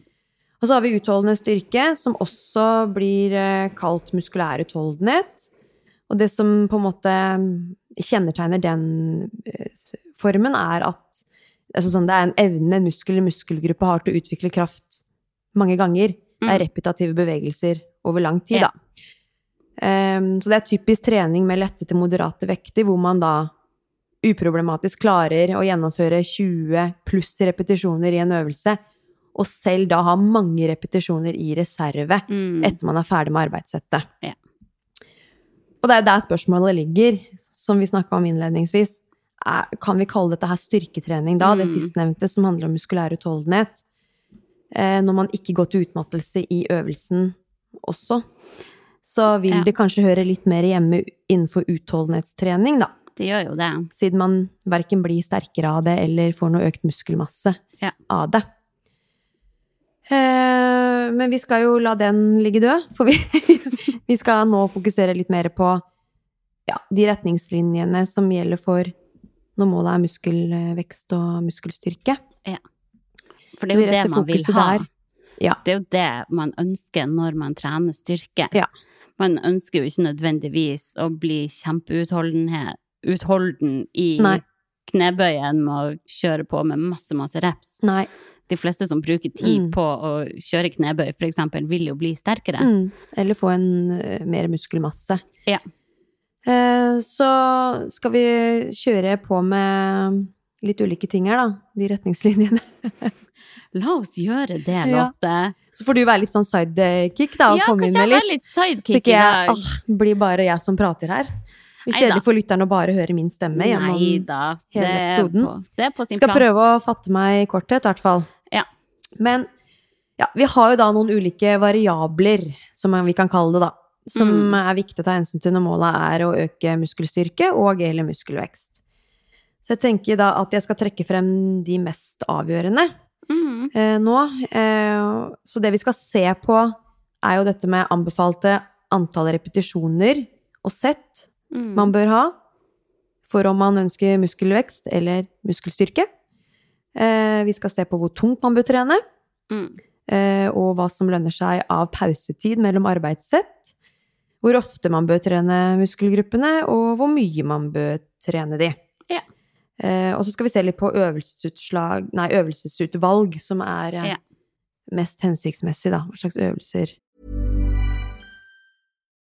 Og så har vi utholdende styrke, som også blir eh, kalt muskulær utholdenhet. Og det som på en måte kjennetegner den eh, s- formen, er at altså sånn, det er en evne en muskel eller muskelgruppe har til å utvikle kraft mange ganger. Det
Mm.
er repetitive bevegelser over lang tid,
Ja.
da. Ehm, så det er typisk trening med lette til moderate vekter, hvor man da uproblematisk klarer å gjennomføre 20 pluss repetisjoner i en øvelse, og selv da ha mange repetisjoner i reserve
Mm.
etter man er ferdig med arbeidssettet.
Ja.
Og det er jo der spørsmålet ligger, som vi snakka om innledningsvis. Er, kan vi kalle dette her styrketrening, da? Det
Mm.
sistnevnte, som handler om muskulær utholdenhet. Eh, når man ikke går til utmattelse i øvelsen også. Så vil
Ja.
det kanskje høre litt mer hjemme innenfor utholdenhetstrening, da.
Det gjør jo det.
Siden man verken blir sterkere av det eller får noe økt muskelmasse
Ja.
av det. Eh, men vi skal jo la den ligge død, for vi, *laughs* vi skal nå fokusere litt mer på ja, de retningslinjene som gjelder for når målet er muskelvekst og muskelstyrke.
For det
Så
er jo
vi
det
retter
man vil
fokuset
ha.
der. Ja.
Det er jo det man ønsker når man trener styrke.
Ja.
Man ønsker jo ikke nødvendigvis å bli kjempeutholden he- utholden i
Nei.
knebøyen med å kjøre på med masse, masse reps.
Nei.
De fleste som bruker tid
Mm.
på å kjøre knebøy, for eksempel, vil jo bli sterkere.
Mm, eller få en eh, mer muskelmasse.
Ja.
Eh, så skal vi kjøre på med litt ulike ting her, da. De retningslinjene. *laughs*
La oss gjøre det,
Ja.
Lotte.
Så får du være litt sånn sidekick, da, og
Ja,
komme
kanskje
inn
jeg
med
var
litt.
litt
Så
sidekick
ikke
i
jeg
dag.
ah, blir bare jeg som prater her. Det blir
Neida.
kjedelig for lytteren å bare høre min stemme gjennom
Nei da.
hele
Det er,
episoden.
på, det er på sin
Skal
plass.
prøve å fatte meg i korthet, i hvert fall.
Ja.
Men ja, vi har jo da noen ulike variabler, som vi kan kalle det, da. Som
Mm.
er viktig å ta hensyn til når målet er å øke muskelstyrke og eller muskelvekst. Så jeg tenker da at jeg skal trekke frem de mest avgjørende
Mm.
eh, nå. Eh, så det vi skal se på, er jo dette med anbefalte antall repetisjoner og sett
Mm.
man bør ha for om man ønsker muskelvekst eller muskelstyrke. Eh, vi skal se på hvor tungt man bør trene,
mm.
eh, og hva som lønner seg av pausetid mellom arbeidssett. Hvor ofte man bør trene muskelgruppene, og hvor mye man bør trene de.
Ja.
Eh, og så skal vi se litt på øvelsesutslag, nei, øvelsesutvalg, som er eh,
Ja.
mest hensiktsmessig, da. Hva slags øvelser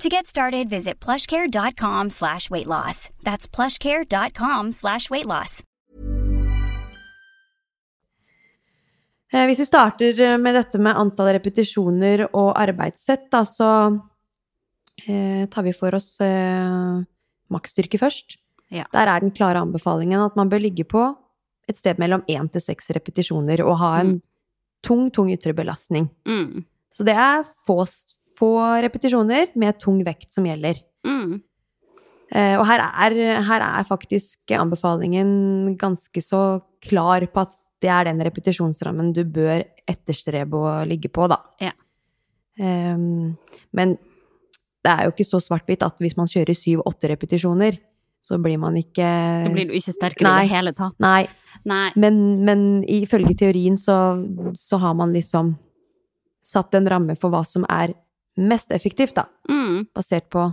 To get started, visit plushcare.com slash weight loss. That's plushcare.com slash weight loss.
Eh, Hvis vi starter eh, med dette med antall repetisjoner og arbeidssett, da, så eh, tar vi for oss eh, maksstyrke først.
Ja.
Der er den klare anbefalingen at man bør ligge på et sted mellom én til seks repetisjoner og ha en tung, tung ytre belastning.
Mm.
Så det er få, s- få repetisjoner med tung vekt som gjelder.
Mm.
Eh, Og her er, her er faktisk anbefalingen ganske så klar på at det er den repetisjonsrammen du bør etterstrebe å ligge på, da.
Ja.
Ehm, men det er jo ikke så svart-hvitt at hvis man kjører syv-åtte repetisjoner, så blir man ikke
Da blir du ikke sterkere
Nei.
i det hele tatt.
Nei.
Nei.
Men, men ifølge teorien så, så har man liksom satt en ramme for hva som er mest effektivt, da.
Mm.
Basert på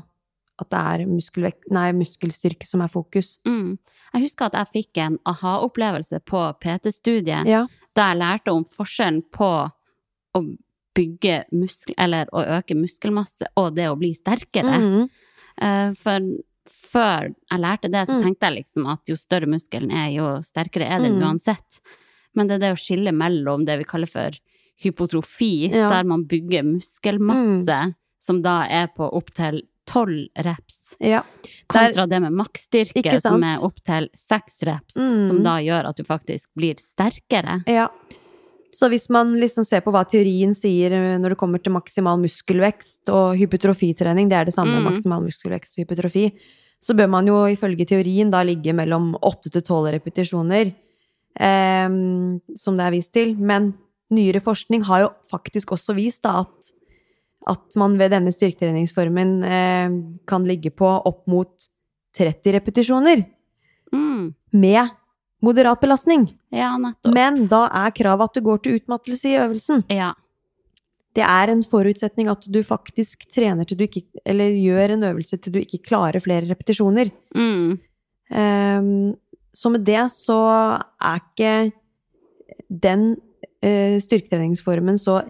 at det er muskelvekt, nei, muskelstyrke som er fokus.
Mm. Jeg husker at jeg fikk en aha-opplevelse på PT-studiet,
Ja.
da jeg lærte om forskjellen på å bygge muskel, eller å øke muskelmasse, og det å bli sterkere.
Mhm.
Eh, For før jeg lærte det, så
Mm.
tenkte jeg liksom at jo større muskelen er, jo sterkere er den
Mm.
uansett. Men det er det å skille mellom det vi kaller for hypotrofi,
Ja. Mm.
der man bygger muskelmasse, som da er på opptil tolv reps,
Ja. Der-
kontra det med maksstyrke,
Ikke
som
sant?
er opptil seks reps,
Mm.
som da gjør at du faktisk blir sterkere.
ja. Så hvis man liksom ser på hva teorien sier eh, når det kommer til maksimal muskelvekst og hypotrofitrening, det er det samme,
Mhm.
maksimal muskelvekst og hypotrofi, så bør man jo ifølge teorien da ligge mellom 8 til 12 repetisjoner, eh, som det er vist til. Men nyere forskning har jo faktisk også vist da at, at man ved denne styrketreningsformen eh, kan ligge på opp mot 30 repetisjoner
Mm.
med moderat belastning.
Ja, nettopp.
Men da er kravet at du går til utmattelse i øvelsen.
ja.
Det er en forutsetning at du faktisk trener til du ikke Eller gjør en øvelse til du ikke klarer flere repetisjoner.
Mm.
Ehm, så med det så er ikke den eh, styrketreningsformen så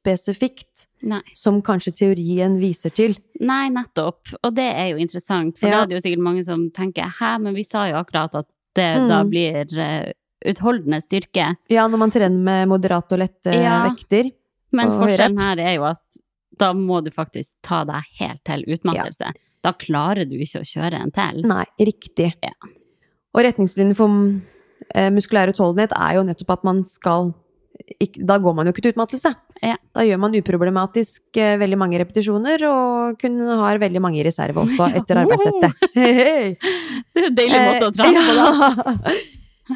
rep-spesifikt
Nei.
som kanskje teorien viser til.
Nei, nettopp. Og det er jo interessant, for
Ja.
da er det jo sikkert mange som tenker hæ, men vi sa jo akkurat at det da
Mm.
blir eh, utholdende styrke.
Ja, når man trener med moderate og lette
Ja.
vekter.
Men
Og
forskjellen her er jo at da må du faktisk ta deg helt til utmattelse. Da klarer du ikke å kjøre en til.
Nei, riktig.
Ja.
Og retningslinjen for eh, muskulær utholdenhet er jo nettopp at man skal ikk- Da går man jo ikke til utmattelse.
Ja.
Da gjør man uproblematisk eh, veldig mange repetisjoner, og kun har veldig mange i reserve også, etter *laughs* arbeidssettet. Hei!
Det er jo en deilig måte å
Eh,
trene på, da.
på, da.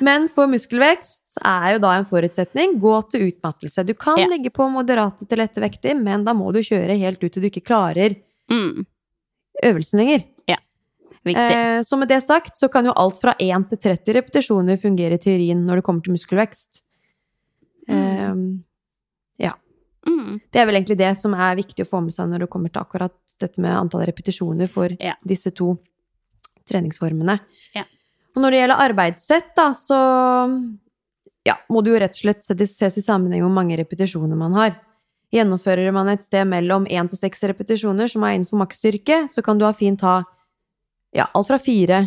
Men for muskelvekst er jo da en forutsetning gå til utmattelse. Du kan
Ja.
ligge på moderate til lette vekter, men da må du kjøre helt ut til du ikke klarer
Mm,
øvelsen lenger.
viktig.
Eh, så med det sagt så kan jo alt fra 1 til 30 repetisjoner fungere i teorien når det kommer til muskelvekst. Eh,
Mm.
det er vel egentlig det som er viktig å få med seg når det kommer til akkurat dette med antall repetisjoner for
Ja.
disse to treningsformene.
Ja.
Og når det gjelder arbeidssett, da, så ja, må det jo rett og slett ses ses i sammenheng hvor mange repetisjoner man har. Gjennomfører man et sted mellom 1 til 6 repetisjoner, som er innenfor maksstyrke, så kan du ha fint ha ja, alt fra fire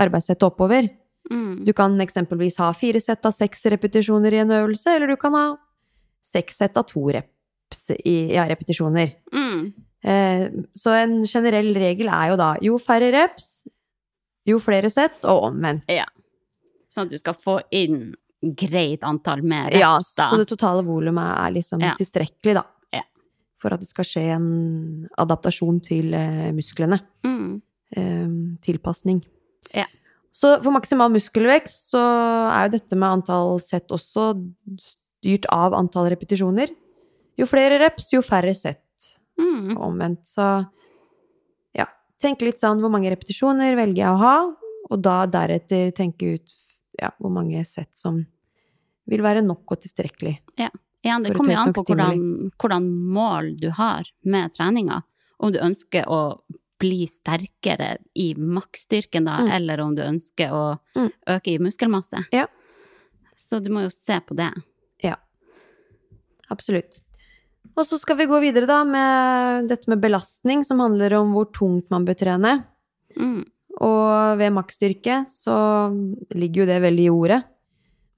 arbeidssett og oppover.
Mm.
Du kan eksempelvis ha fire sett av seks repetisjoner i en øvelse, eller du kan ha seks sett av to reps i ja, repetisjoner.
Mm.
Eh, så en generell regel er jo da jo færre reps, jo flere sett, og omvendt.
Ja, Sånn at du skal få inn greit antall med
Ja,
reps, da.
så det totale volumet er liksom
Ja.
tilstrekkelig, da.
Ja.
For at det skal skje en adaptasjon til eh, musklene.
Mm.
eh, tilpasning.
Ja.
Så for maksimal muskelvekst så er jo dette med antall sett også styrt av antall repetisjoner. Jo flere reps, jo færre sett,
Mm.
og omvendt. Så ja, tenk litt sånn hvor mange repetisjoner velger jeg å ha, og da deretter tenke ut ja, hvor mange sett som vil være nok og tilstrekkelig.
Igjen,
For
det
et
kommer
høyt
jo an
nok
på hvordan, hvordan mål du har med treninga. Om du ønsker å bli sterkere i maksstyrken, da,
Mm.
eller om du ønsker å
Mm.
øke i muskelmasse.
Ja.
Så du må jo se på det.
Absolutt. Og så skal vi gå videre da med dette med belastning, som handler om hvor tungt man bør trene.
Mm.
Og ved maksstyrke så ligger jo det veldig i ordet.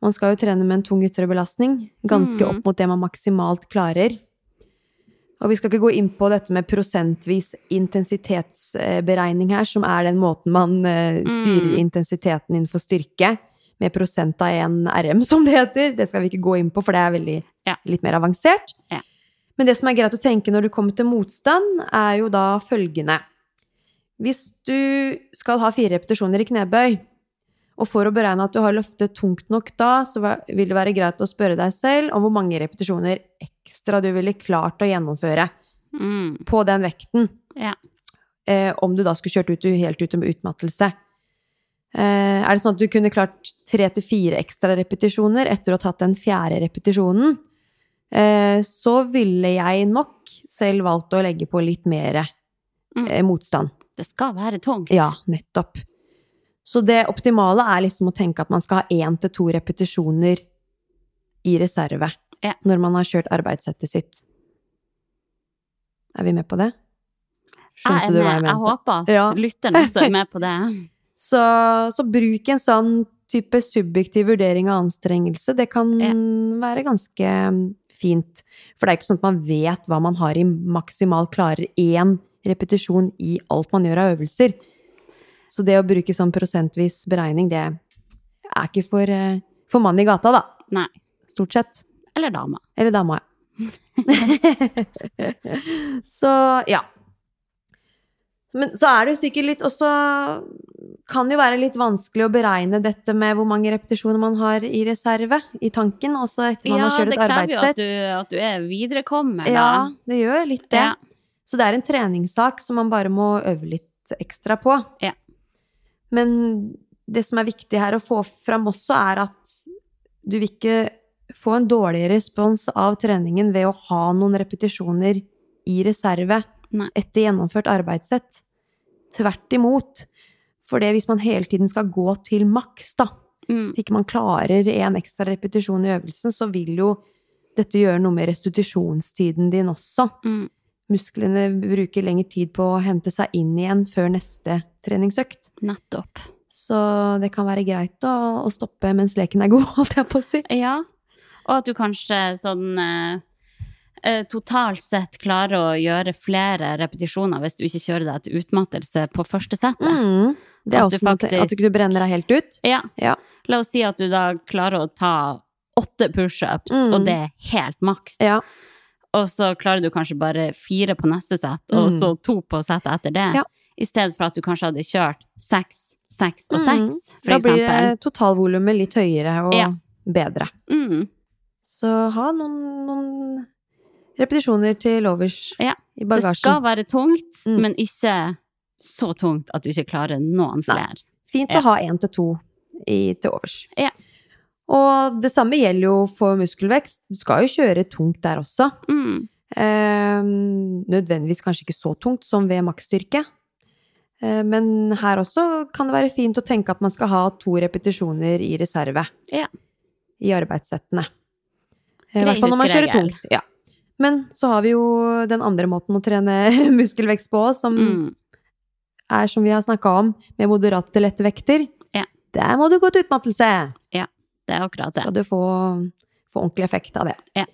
Man skal jo trene med en tung ytre belastning, ganske
Mhm.
opp mot det man maksimalt klarer. Og vi skal ikke gå inn på dette med prosentvis intensitetsberegning her, som er den måten man eh, styrer
Mm.
intensiteten innenfor styrke, med prosent av 1 RM, som det heter. Det skal vi ikke gå inn på, for det er veldig,
Ja.
litt mer avansert.
Ja.
Men det som er greit å tenke når du kommer til motstand, er jo da følgende. Hvis du skal ha fire repetisjoner i knebøy, og for å beregne at du har løftet tungt nok da, så va- vil det være greit å spørre deg selv om hvor mange repetisjoner ekstra du ville klart å gjennomføre
Mm.
på den vekten.
Ja.
Eh, om du da skulle kjørt ut, helt ut med utmattelse. Eh, er det sånn at du kunne klart tre til fire ekstra repetisjoner etter å ha tatt den fjerde repetisjonen, eh, så ville jeg nok selv valgt å legge på litt mer
Mm.
eh, motstand.
Det skal være tungt.
Ja, nettopp. Så det optimale er liksom å tenke at man skal ha én til to repetisjoner i reserve
Ja.
når man har kjørt arbeidssettet sitt. Er vi med på det?
jeg er
Skjønte du
med.
hva jeg
Jeg,
mente?
håper at
Ja.
lytteren også er med på det.
Så, så bruk en sånn type subjektiv vurdering av anstrengelse. Det kan
Ja.
være ganske mm, fint. For det er ikke sånn at man vet hva man har i maksimalt klarer én repetisjon i alt man gjør av øvelser. Så det å bruke sånn prosentvis beregning, det er ikke for, eh, for mannen i gata, da.
Nei.
Stort sett. *laughs*
Eller dama.
Eller dama, ja. så ja. Men så er det jo sikkert litt også Kan det jo være litt vanskelig å beregne dette med hvor mange repetisjoner man har i reserve i tanken, også etter man
Ja,
har kjørt
det
et
krever jo at
arbeidssett.
du, at du er viderekommer, da.
Ja, det gjør litt det.
Ja.
Så det er en treningssak som man bare må øve litt ekstra på.
Ja.
Men det som er viktig her å få fram også, er at du vil ikke få en dårlig respons av treningen ved å ha noen repetisjoner i reserve
Nei.
etter gjennomført arbeidssett. Tvert imot. For det hvis man hele tiden skal gå til maks, da,
Mm.
hvis ikke man klarer en ekstra repetisjon i øvelsen, så vil jo dette gjøre noe med restitusjonstiden din også.
Mm.
Musklene bruker lengre tid på å hente seg inn igjen før neste treningsøkt.
Nettopp.
Så det kan være greit å, å stoppe mens leken er god, *laughs* holdt jeg på å si.
Ja. Og at du kanskje sånn eh, eh, totalt sett klarer å gjøre flere repetisjoner hvis du ikke kjører deg til utmattelse på første settet.
Mm. Det er
At du
også noe til- At du ikke brenner deg helt ut.
Ja.
Ja.
La oss si at du da klarer å ta åtte pushups,
Mm.
og det er helt maks.
Ja.
Og så klarer du kanskje bare fire på neste sett, og
Mm.
så to på settet etter det.
Ja.
I stedet for at du kanskje hadde kjørt seks, seks og
Mm.
seks, for
Da blir
eksempel.
det totalvolumet litt høyere og
Ja.
bedre.
Mm.
Så ha noen, noen repetisjoner til overs
Ja.
i
Det
bagasjen.
skal være tungt,
Mm.
men ikke så tungt at du ikke klarer noen flere.
Fint
Ja.
å ha én til to i, til overs.
Ja.
Og det samme gjelder jo for muskelvekst. Du skal jo kjøre tungt der også.
Mm.
Eh, nødvendigvis kanskje ikke så tungt som ved maksstyrke. Eh, men her også kan det være fint å tenke at man skal ha to repetisjoner i reserve.
Ja.
I arbeidssettene. Eh, I
Grei
hvert fall når man kjører
huskeregel.
tungt. Ja. Men så har vi jo den andre måten å trene *laughs* muskelvekst på, som
Mm.
er, som vi har snakka om, med moderate til lette vekter,
Ja.
der må du gå til utmattelse!
Det er akkurat det.
Skal du få, få ordentlig effekt av det.
Ja.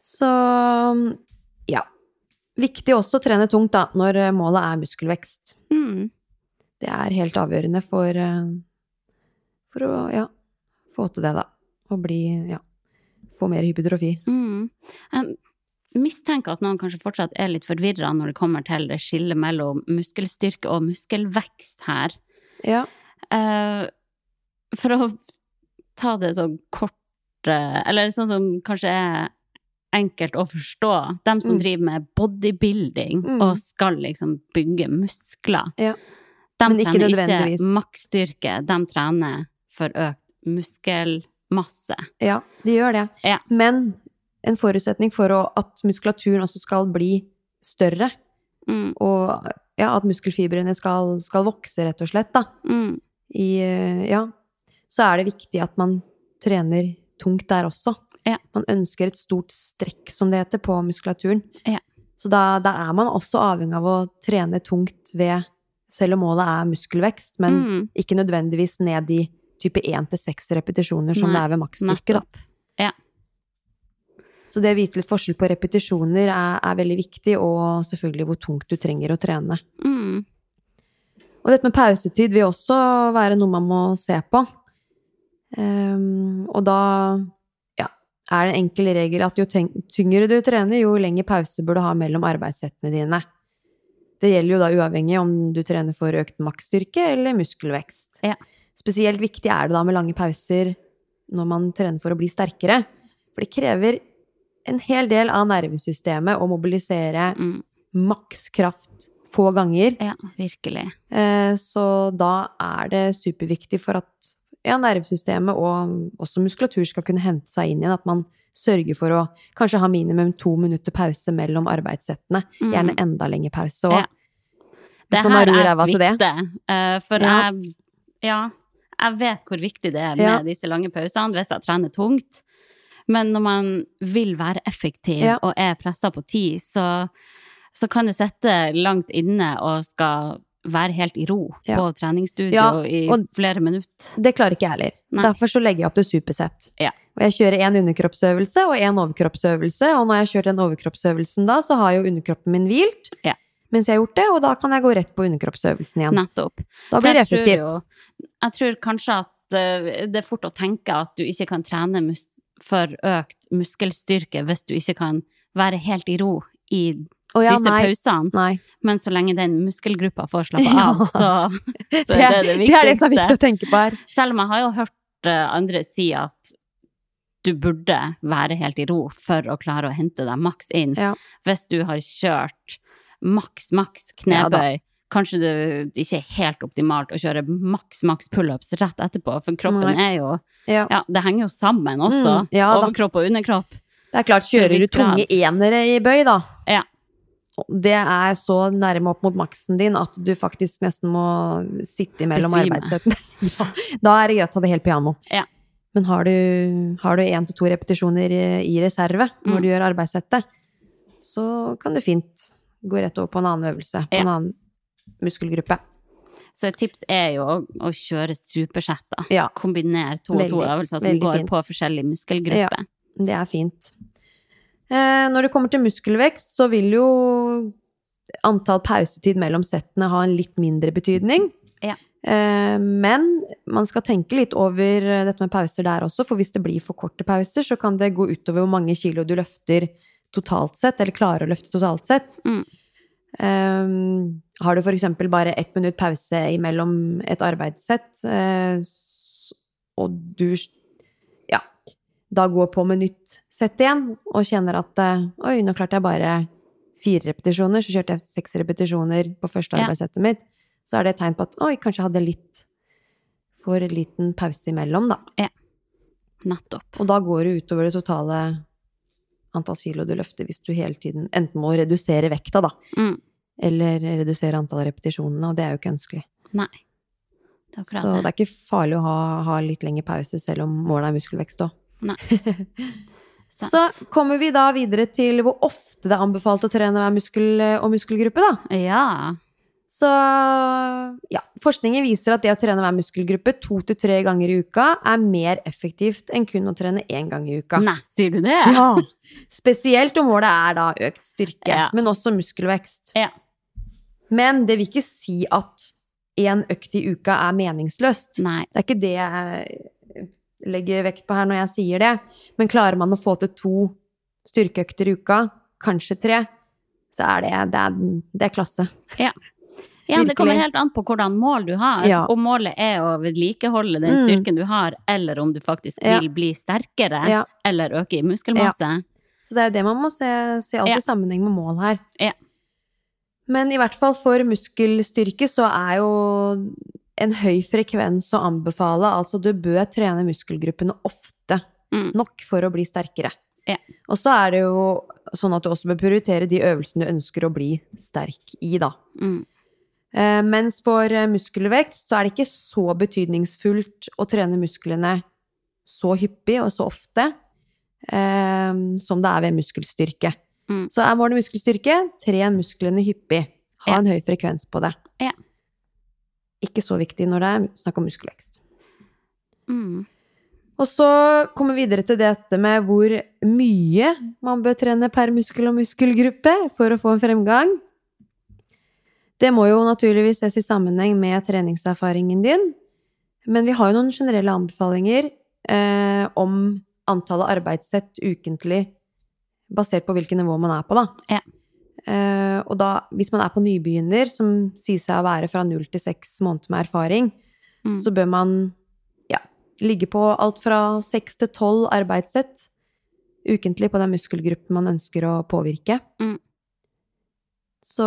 Så ja. Viktig også å trene tungt da, når eh, målet er muskelvekst.
Mm.
Det er helt avgjørende for, eh, for å ja, få til det, da. Og bli ja, få mer hypertrofi.
Mm. Jeg mistenker at noen kanskje fortsatt er litt forvirra når det kommer til det skillet mellom muskelstyrke og muskelvekst her.
Ja.
Eh, for å ta det så kort, eh, eller sånn som kanskje er enkelt å forstå, dem som
Mm.
driver med bodybuilding
Mm.
og skal liksom bygge muskler,
Ja.
de
Men ikke
trener
nødvendigvis.
ikke maksstyrke, de trener for økt muskel, Masse.
Ja, de gjør det.
Ja.
Men en forutsetning for å, at muskulaturen også skal bli større,
Mm,
og ja, at muskelfibrene skal, skal vokse, rett og slett, da,
mm,
i, eh, ja, så er det viktig at man trener tungt der også.
Ja.
Man ønsker et stort strekk, som det heter, på muskulaturen.
Ja.
Så da, da er man også avhengig av å trene tungt ved, selv om målet er muskelvekst, men
mm.
ikke nødvendigvis ned i type 1-6 repetisjoner som
Nei,
det er ved maksstyrke.
nettopp.
Da.
Ja.
Så det å vite litt forskjell på repetisjoner er, er veldig viktig, og selvfølgelig hvor tungt du trenger å trene.
Mm.
Og dette med pausetid vil også være noe man må se på. Ehm, og da ja, er det en enkel regel at jo ten- tyngre du trener, jo lengre pause bør du ha mellom arbeidssettene dine. Det gjelder jo da uavhengig om du trener for økt maksstyrke eller muskelvekst.
Ja.
Spesielt viktig er det da med lange pauser når man trener for å bli sterkere. For det krever en hel del av nervesystemet å mobilisere
Mm.
makskraft få ganger.
Ja, virkelig.
Eh, Så da er det superviktig for at ja, nervesystemet og også muskulatur skal kunne hente seg inn igjen, at man sørger for å kanskje ha minimum to minutter pause mellom arbeidssettene.
Mm.
Gjerne enda lengre pause òg.
Ja. Det
Hvis man har
her
ro i
er
ræva til det.
svikte, eh, for
Ja.
jeg Ja, jeg vet hvor viktig det er med
Ja.
disse lange pausene hvis jeg trener tungt. Men når man vil være effektiv
Ja.
og er pressa på tid, så, så kan det sitte langt inne og skal være helt i ro
Ja.
på treningsstudio
Ja,
i
og-
flere minutter.
Det klarer ikke jeg heller.
Nei.
Derfor så legger jeg opp til supersett.
Ja.
Og jeg kjører én underkroppsøvelse og én overkroppsøvelse, og når jeg har kjørt den overkroppsøvelsen da, så har jo underkroppen min hvilt.
Ja.
Mens jeg har gjort det, og da kan jeg gå rett på underkroppsøvelsen igjen.
Nettopp.
Da blir det
For jeg
effektivt.
tror jo- Jeg tror kanskje at eh, det er fort å tenke at du ikke kan trene mus for økt muskelstyrke hvis du ikke kan være helt i ro i
Å ja,
disse
nei.
pausene.
nei.
Men så lenge den muskelgruppa får slappe
*laughs* Ja.
av, så,
Det,
så er det det
det er det som er viktig
viktigste.
å tenke på her.
Selv om jeg har jo hørt eh, andre si at du burde være helt i ro for å klare å hente deg maks inn.
Ja.
Hvis du har kjørt maks, maks
Ja da.
knebøy, kanskje det ikke er helt optimalt å kjøre maks, maks pullups rett etterpå, for kroppen er jo
Ja.
Ja, det henger jo sammen også.
Mm, ja da.
overkropp og underkropp.
Det er klart, kjører
Til en
du
viss grad.
tunge enere i bøy, da
Ja.
Det er så nærme opp mot maksen din at du faktisk nesten må sitte imellom
Besvime.
arbeidssettene. *laughs* ja. Da er det greit å ta det helt piano.
Ja.
Men har du, har du én til to repetisjoner eh, i reserve når
Mm.
du gjør arbeidssettet, så kan du fint gå rett over på en annen øvelse, på
Ja.
en annen muskelgruppe.
Så et tips er jo å, å kjøre supersetter.
Ja.
Kombinere to og to
Veldig,
øvelser som
veldig
går
fint.
på forskjellig muskelgruppe.
Det er fint. Eh, når det kommer til muskelvekst, så vil jo antall pausetid mellom settene ha en litt mindre betydning.
Ja.
Eh, men man skal tenke litt over eh, dette med pauser der også, for hvis det blir for korte pauser, så kan det gå utover hvor mange kilo du løfter totalt sett, eller klarer å løfte totalt sett.
Mm.
Eh, har du for eksempel bare ett minutt pause imellom et arbeidssett, eh, s- og du ja, da går på med nytt sett igjen, og kjenner at eh, oi, nå klarte jeg bare fire repetisjoner, så kjørte jeg seks repetisjoner på første
Ja.
arbeidssettet mitt, så er det et tegn på at oi, kanskje jeg hadde litt for liten pause imellom, da.
Nettopp.
Og da går det utover det totale antall kilo du løfter, hvis du hele tiden enten må redusere vekta, da,
Mm.
eller redusere antallet repetisjonene, og det er jo ikke ønskelig.
Nei. Det er akkurat
Så
det.
det er ikke farlig å ha, ha litt lengre pause, selv om målet er muskelvekst òg. *laughs*
Sant.
Så kommer vi da videre til hvor ofte det er anbefalt å trene hver muskel eh, og muskelgruppe, da.
Ja.
Så ja, forskningen viser at det å trene hver muskelgruppe to til tre ganger i uka er mer effektivt enn kun å trene én gang i uka.
Nei, sier du
*laughs*
det? *laughs*
Ja! Spesielt om målet er da økt styrke,
Ja.
men også muskelvekst.
Ja.
Men det vil ikke si at én økt i uka er meningsløst.
Nei.
Det er ikke det jeg legger vekt på her når jeg sier det. Men klarer man å få til to styrkeøkter i uka, kanskje tre, så er det, det, er, det er klasse.
Ja, det kommer
Virkelig.
helt an på hvordan mål du har.
Ja.
Om målet er å vedlikeholde den
Mm.
styrken du har, eller om du faktisk
Ja.
vil bli sterkere
Ja.
eller øke i muskelmasse.
Så det er det man må se, se alt
Ja.
i sammenheng med mål her.
Ja.
Men i hvert fall for muskelstyrke så er jo en høy frekvens å anbefale. Altså, du bør trene muskelgruppene ofte
Mm.
nok for å bli sterkere.
Ja.
Og så er det jo sånn at du også bør prioritere de øvelsene du ønsker å bli sterk i, da.
Mm.
Eh, mens for eh, muskelvekst så er det ikke så betydningsfullt å trene musklene så hyppig og så ofte eh, som det er ved muskelstyrke.
Mm.
Så er målet muskelstyrke, tren musklene hyppig. Ha
Ja.
en høy frekvens på det.
Ja.
Ikke så viktig når det er snakk om muskelvekst.
Mm.
Og så kommer vi videre til dette med hvor mye man bør trene per muskel og muskelgruppe for å få en fremgang. Det må jo naturligvis ses i sammenheng med treningserfaringen din, men vi har jo noen generelle anbefalinger eh, om antallet arbeidssett ukentlig, basert på hvilket nivå man er på, da.
Ja.
Eh, og da, hvis man er på nybegynner, som sier seg å være fra null til seks måneder med erfaring,
Mm.
så bør man ja, ligge på alt fra seks til tolv arbeidssett ukentlig på den muskelgruppen man ønsker å påvirke.
Mm.
Så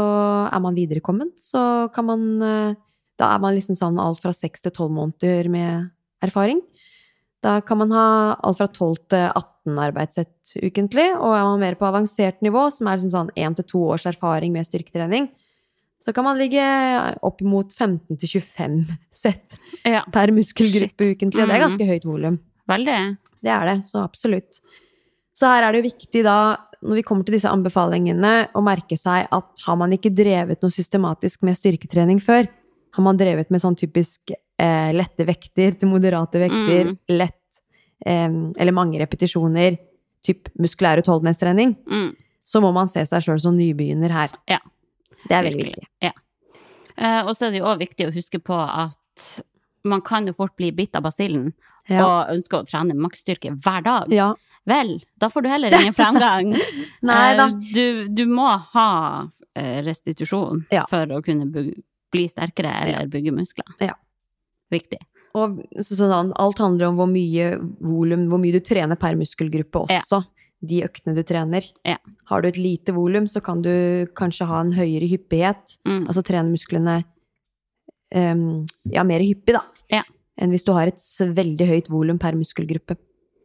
er man viderekommen, så kan man eh, Da er man liksom sånn alt fra seks til tolv måneder med erfaring. Da kan man ha alt fra 12 til 18 arbeidssett ukentlig. Og er man mer på avansert nivå, som er liksom sånn 1 til 2 års erfaring med styrketrening, så kan man ligge opp mot 15 til 25 sett
Ja.
per muskelgruppe
Shit.
ukentlig. Det er
Mhm.
ganske høyt volum.
Veldig.
Det er det, så absolutt. Så her er det jo viktig da, når vi kommer til disse anbefalingene, å merke seg at har man ikke drevet noe systematisk med styrketrening før, har man drevet med sånn typisk eh, lette vekter til moderate vekter,
Mm.
lett eh, eller mange repetisjoner, typ muskulær utholdenhetstrening,
Mm.
så må man se seg sjøl som nybegynner her.
Ja.
Det er veldig
Virkelig.
viktig.
Eh, og så er det jo òg viktig å huske på at man kan jo fort bli bitt av basillen
Ja.
og ønske å trene maksstyrke hver dag.
ja.
Vel, da får du heller ingen fremgang.
*laughs* Nei da.
Eh, Du, du må ha eh, restitusjon
Ja.
for å kunne bu- bli sterkere eller bygge muskler.
Ja.
Viktig.
Og så- sånn, alt handler om hvor mye volum, hvor mye du trener per muskelgruppe også. De øktene du trener.
Ja.
Har du et lite volum, så kan du kanskje ha en høyere hyppighet.
Mm.
Altså trene musklene em, ja, mer hyppig, da.
Ja.
Enn hvis du har et s- veldig høyt volum per muskelgruppe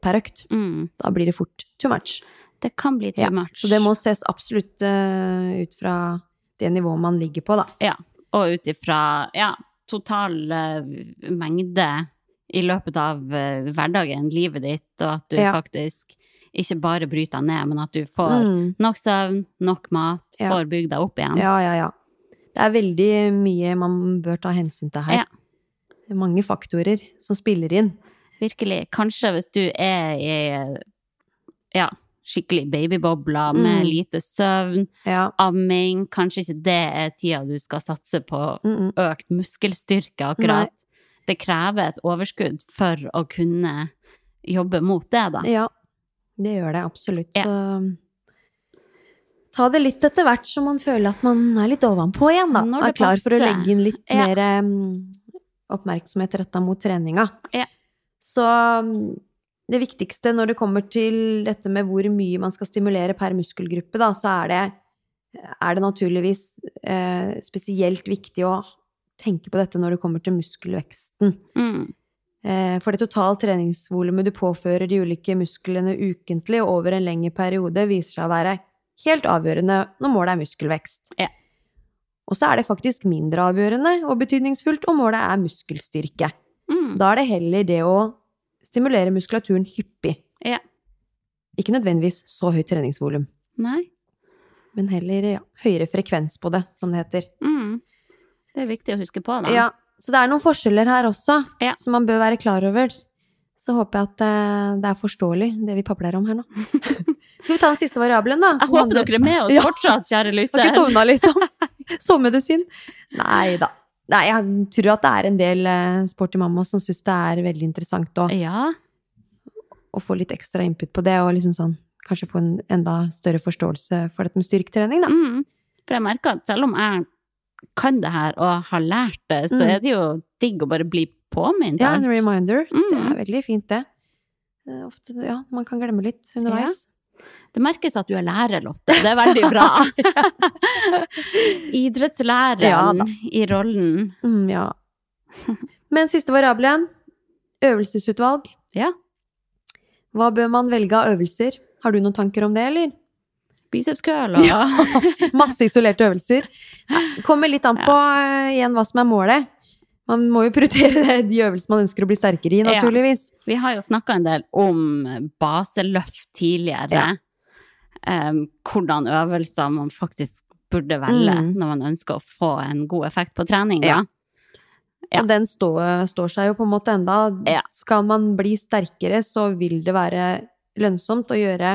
per økt.
Mm.
Da blir det fort too much.
Det kan bli too
Ja,
much.
Så det må ses absolutt eh, ut fra det nivået man ligger på, da.
Og ut ifra ja, total eh, mengde i løpet av eh, hverdagen, livet ditt, og at du
Ja.
faktisk ikke bare bryter deg ned, men at du får
Mm.
nok søvn, nok mat,
Ja.
får bygd deg opp igjen.
Ja, ja, ja. Det er veldig mye man bør ta hensyn til her.
Ja.
Det er mange faktorer som spiller inn.
Virkelig. Kanskje hvis du er i ja, skikkelig babybobla med
Mm.
lite søvn,
Ja.
amming, kanskje ikke det er tida du skal satse på
Mm -mm.
økt muskelstyrke akkurat. Det krever et overskudd for å kunne jobbe mot det, da.
ja. Det gjør det absolutt.
Ja.
Så ta det litt etter hvert som man føler at man er litt ovenpå igjen, da.
Når det
er klar for å
passer.
legge inn litt
Ja.
mer em, oppmerksomhet retta mot treninga.
Ja.
Så em, det viktigste når det kommer til dette med hvor mye man skal stimulere per muskelgruppe, da, så er det er det naturligvis eh, spesielt viktig å tenke på dette når det kommer til muskelveksten.
Mm.
Eh, for det totale treningsvolumet du påfører de ulike musklene ukentlig og over en lengre periode, viser seg å være helt avgjørende når målet er muskelvekst.
Ja.
Og så er det faktisk mindre avgjørende og betydningsfullt om målet er muskelstyrke.
Mm.
Da er det heller det å stimulere muskulaturen hyppig.
Ja.
Ikke nødvendigvis så høyt treningsvolum,
Nei.
men heller ja, høyere frekvens på det, som det heter.
Mm. Det er viktig å huske på, da.
Ja, så det er noen forskjeller her også,
Ja.
som man bør være klar over. Så håper jeg at eh, det er forståelig, det vi papler
*laughs*
om her nå. Skal vi ta den siste variabelen, da?
Jeg håper dere er med oss
Ja.
fortsatt,
har
kjære
ikke
lytter.
sovna, liksom. *laughs* Sovmedisin. Nei da. Nei, jeg tror at det er en del eh, sporty mamma som syns det er veldig interessant å,
Ja.
å få litt ekstra input på det, og liksom sånn kanskje få en enda større forståelse for dette med styrketrening, da.
Mm. For jeg merker at selv om jeg kan det her og har lært det, så
Mm.
er det jo digg å bare bli påminnet.
Ja, en
alt.
reminder. Det
Mm.
er veldig fint, det. Det er Ofte, ja, man kan glemme litt underveis.
Det merkes at du er lærer, Lotte. Det er veldig bra.
*laughs*
*laughs* Idrettslæreren
Ja da.
i rollen.
Mm, ja. Men siste variabel igjen. Øvelsesutvalg.
Ja.
Hva bør man velge av øvelser? Har du noen tanker om det, eller?
Biceps curl og
*laughs* Masse isolerte øvelser. Det Kommer litt an på eh, igjen hva som er målet. Man må jo prioritere *laughs* det, de øvelsene man ønsker å bli sterkere i,
Ja.
naturligvis.
Vi har jo snakka en del om baseløft tidligere.
Ja.
Em, hvordan øvelser man faktisk burde velge
Mm.
når man ønsker å få en god effekt på trening. Da.
Ja.
Ja.
Og den stå, står seg jo på en måte enda.
Ja.
Skal man bli sterkere, så vil det være lønnsomt å gjøre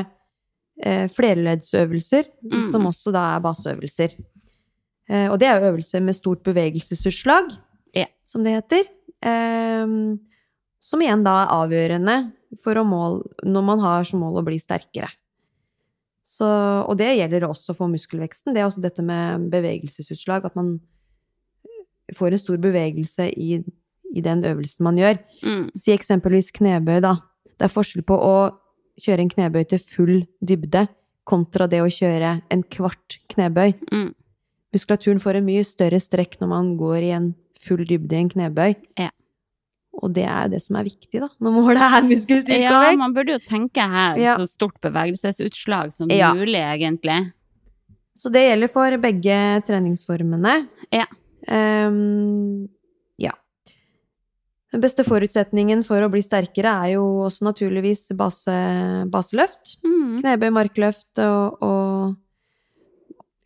eh, flerleddsøvelser,
Mm.
som også da er baseøvelser. Eh, og det er jo øvelser med stort bevegelsesutslag,
Ja.
som det heter. Eh, som igjen da er avgjørende for å mål, når man har som mål å bli sterkere. Så, og det gjelder også for muskelveksten. Det er også dette med bevegelsesutslag, at man får en stor bevegelse i, i den øvelsen man gjør.
Mm.
Si eksempelvis knebøy, da. Det er forskjell på å kjøre en knebøy til full dybde kontra det å kjøre en kvart knebøy.
Mm.
Muskulaturen får en mye større strekk når man går i en full dybde i en knebøy.
Ja.
Og det er jo det som er viktig, da, når målet er muskelstyrke og
Ja,
vekst.
man burde jo tenke her
Ja.
så stort bevegelsesutslag som
Ja.
mulig, egentlig.
Så det gjelder for begge treningsformene.
Ja.
Ehm, ja. Den beste forutsetningen for å bli sterkere er jo også naturligvis base, baseløft.
Mm.
Knebøy, markløft og, og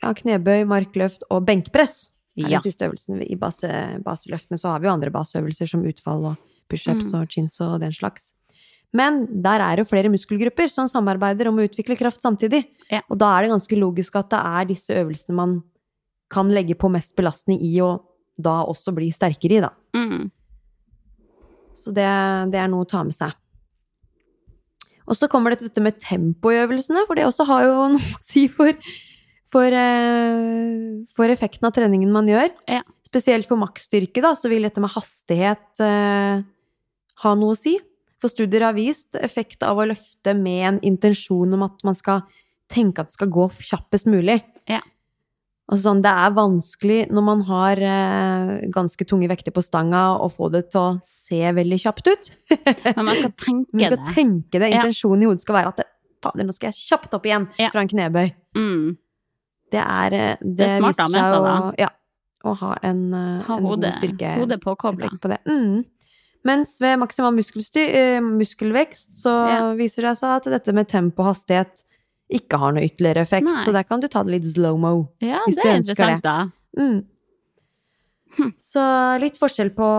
Ja, knebøy, markløft og benkpress er
Ja.
de siste øvelsene i base, baseløft. Men så har vi jo andre baseøvelser som utfall og pushups
Mm.
og chins og den slags. Men der er jo flere muskelgrupper som samarbeider om å utvikle kraft samtidig.
Ja.
Og da er det ganske logisk at det er disse øvelsene man kan legge på mest belastning i, og da også bli sterkere i, da.
Mm.
Så det, det er noe å ta med seg. Og så kommer det til dette med tempo i øvelsene, for det også har jo *laughs* noe å si for, for, eh, for effekten av treningen man gjør.
Ja.
Spesielt for maksstyrke, da, så vil dette med hastighet eh, ha noe å si. For studier har vist effekt av å løfte med en intensjon om at man skal tenke at det skal gå kjappest mulig.
Ja.
Altså sånn, det er vanskelig når man har eh, ganske tunge vekter på stanga, å få det til å se veldig kjapt ut.
Men man skal tenke
Man skal
det.
tenke det.
Ja.
Intensjonen i hodet skal være at det, Fader, nå skal jeg kjapt opp igjen
Ja.
fra en knebøy.
Mm.
Det er eh, Det,
er smart å ha
viser
med
seg
seg,
å, ja, å ha en, eh,
Ha
en
hodet,
god styrke
hodet påkobla.
effekt på det. Mm. Mens ved maksimal muskelsty- eh, muskelvekst så
Ja.
viser det seg at dette med tempo og hastighet ikke har noe ytterligere effekt.
Nei.
Så der kan du ta det litt slow-mo.
Ja,
Hvis
det
du
er
ønsker det.
interessant, da.
Mm.
Hm.
Så litt forskjell på,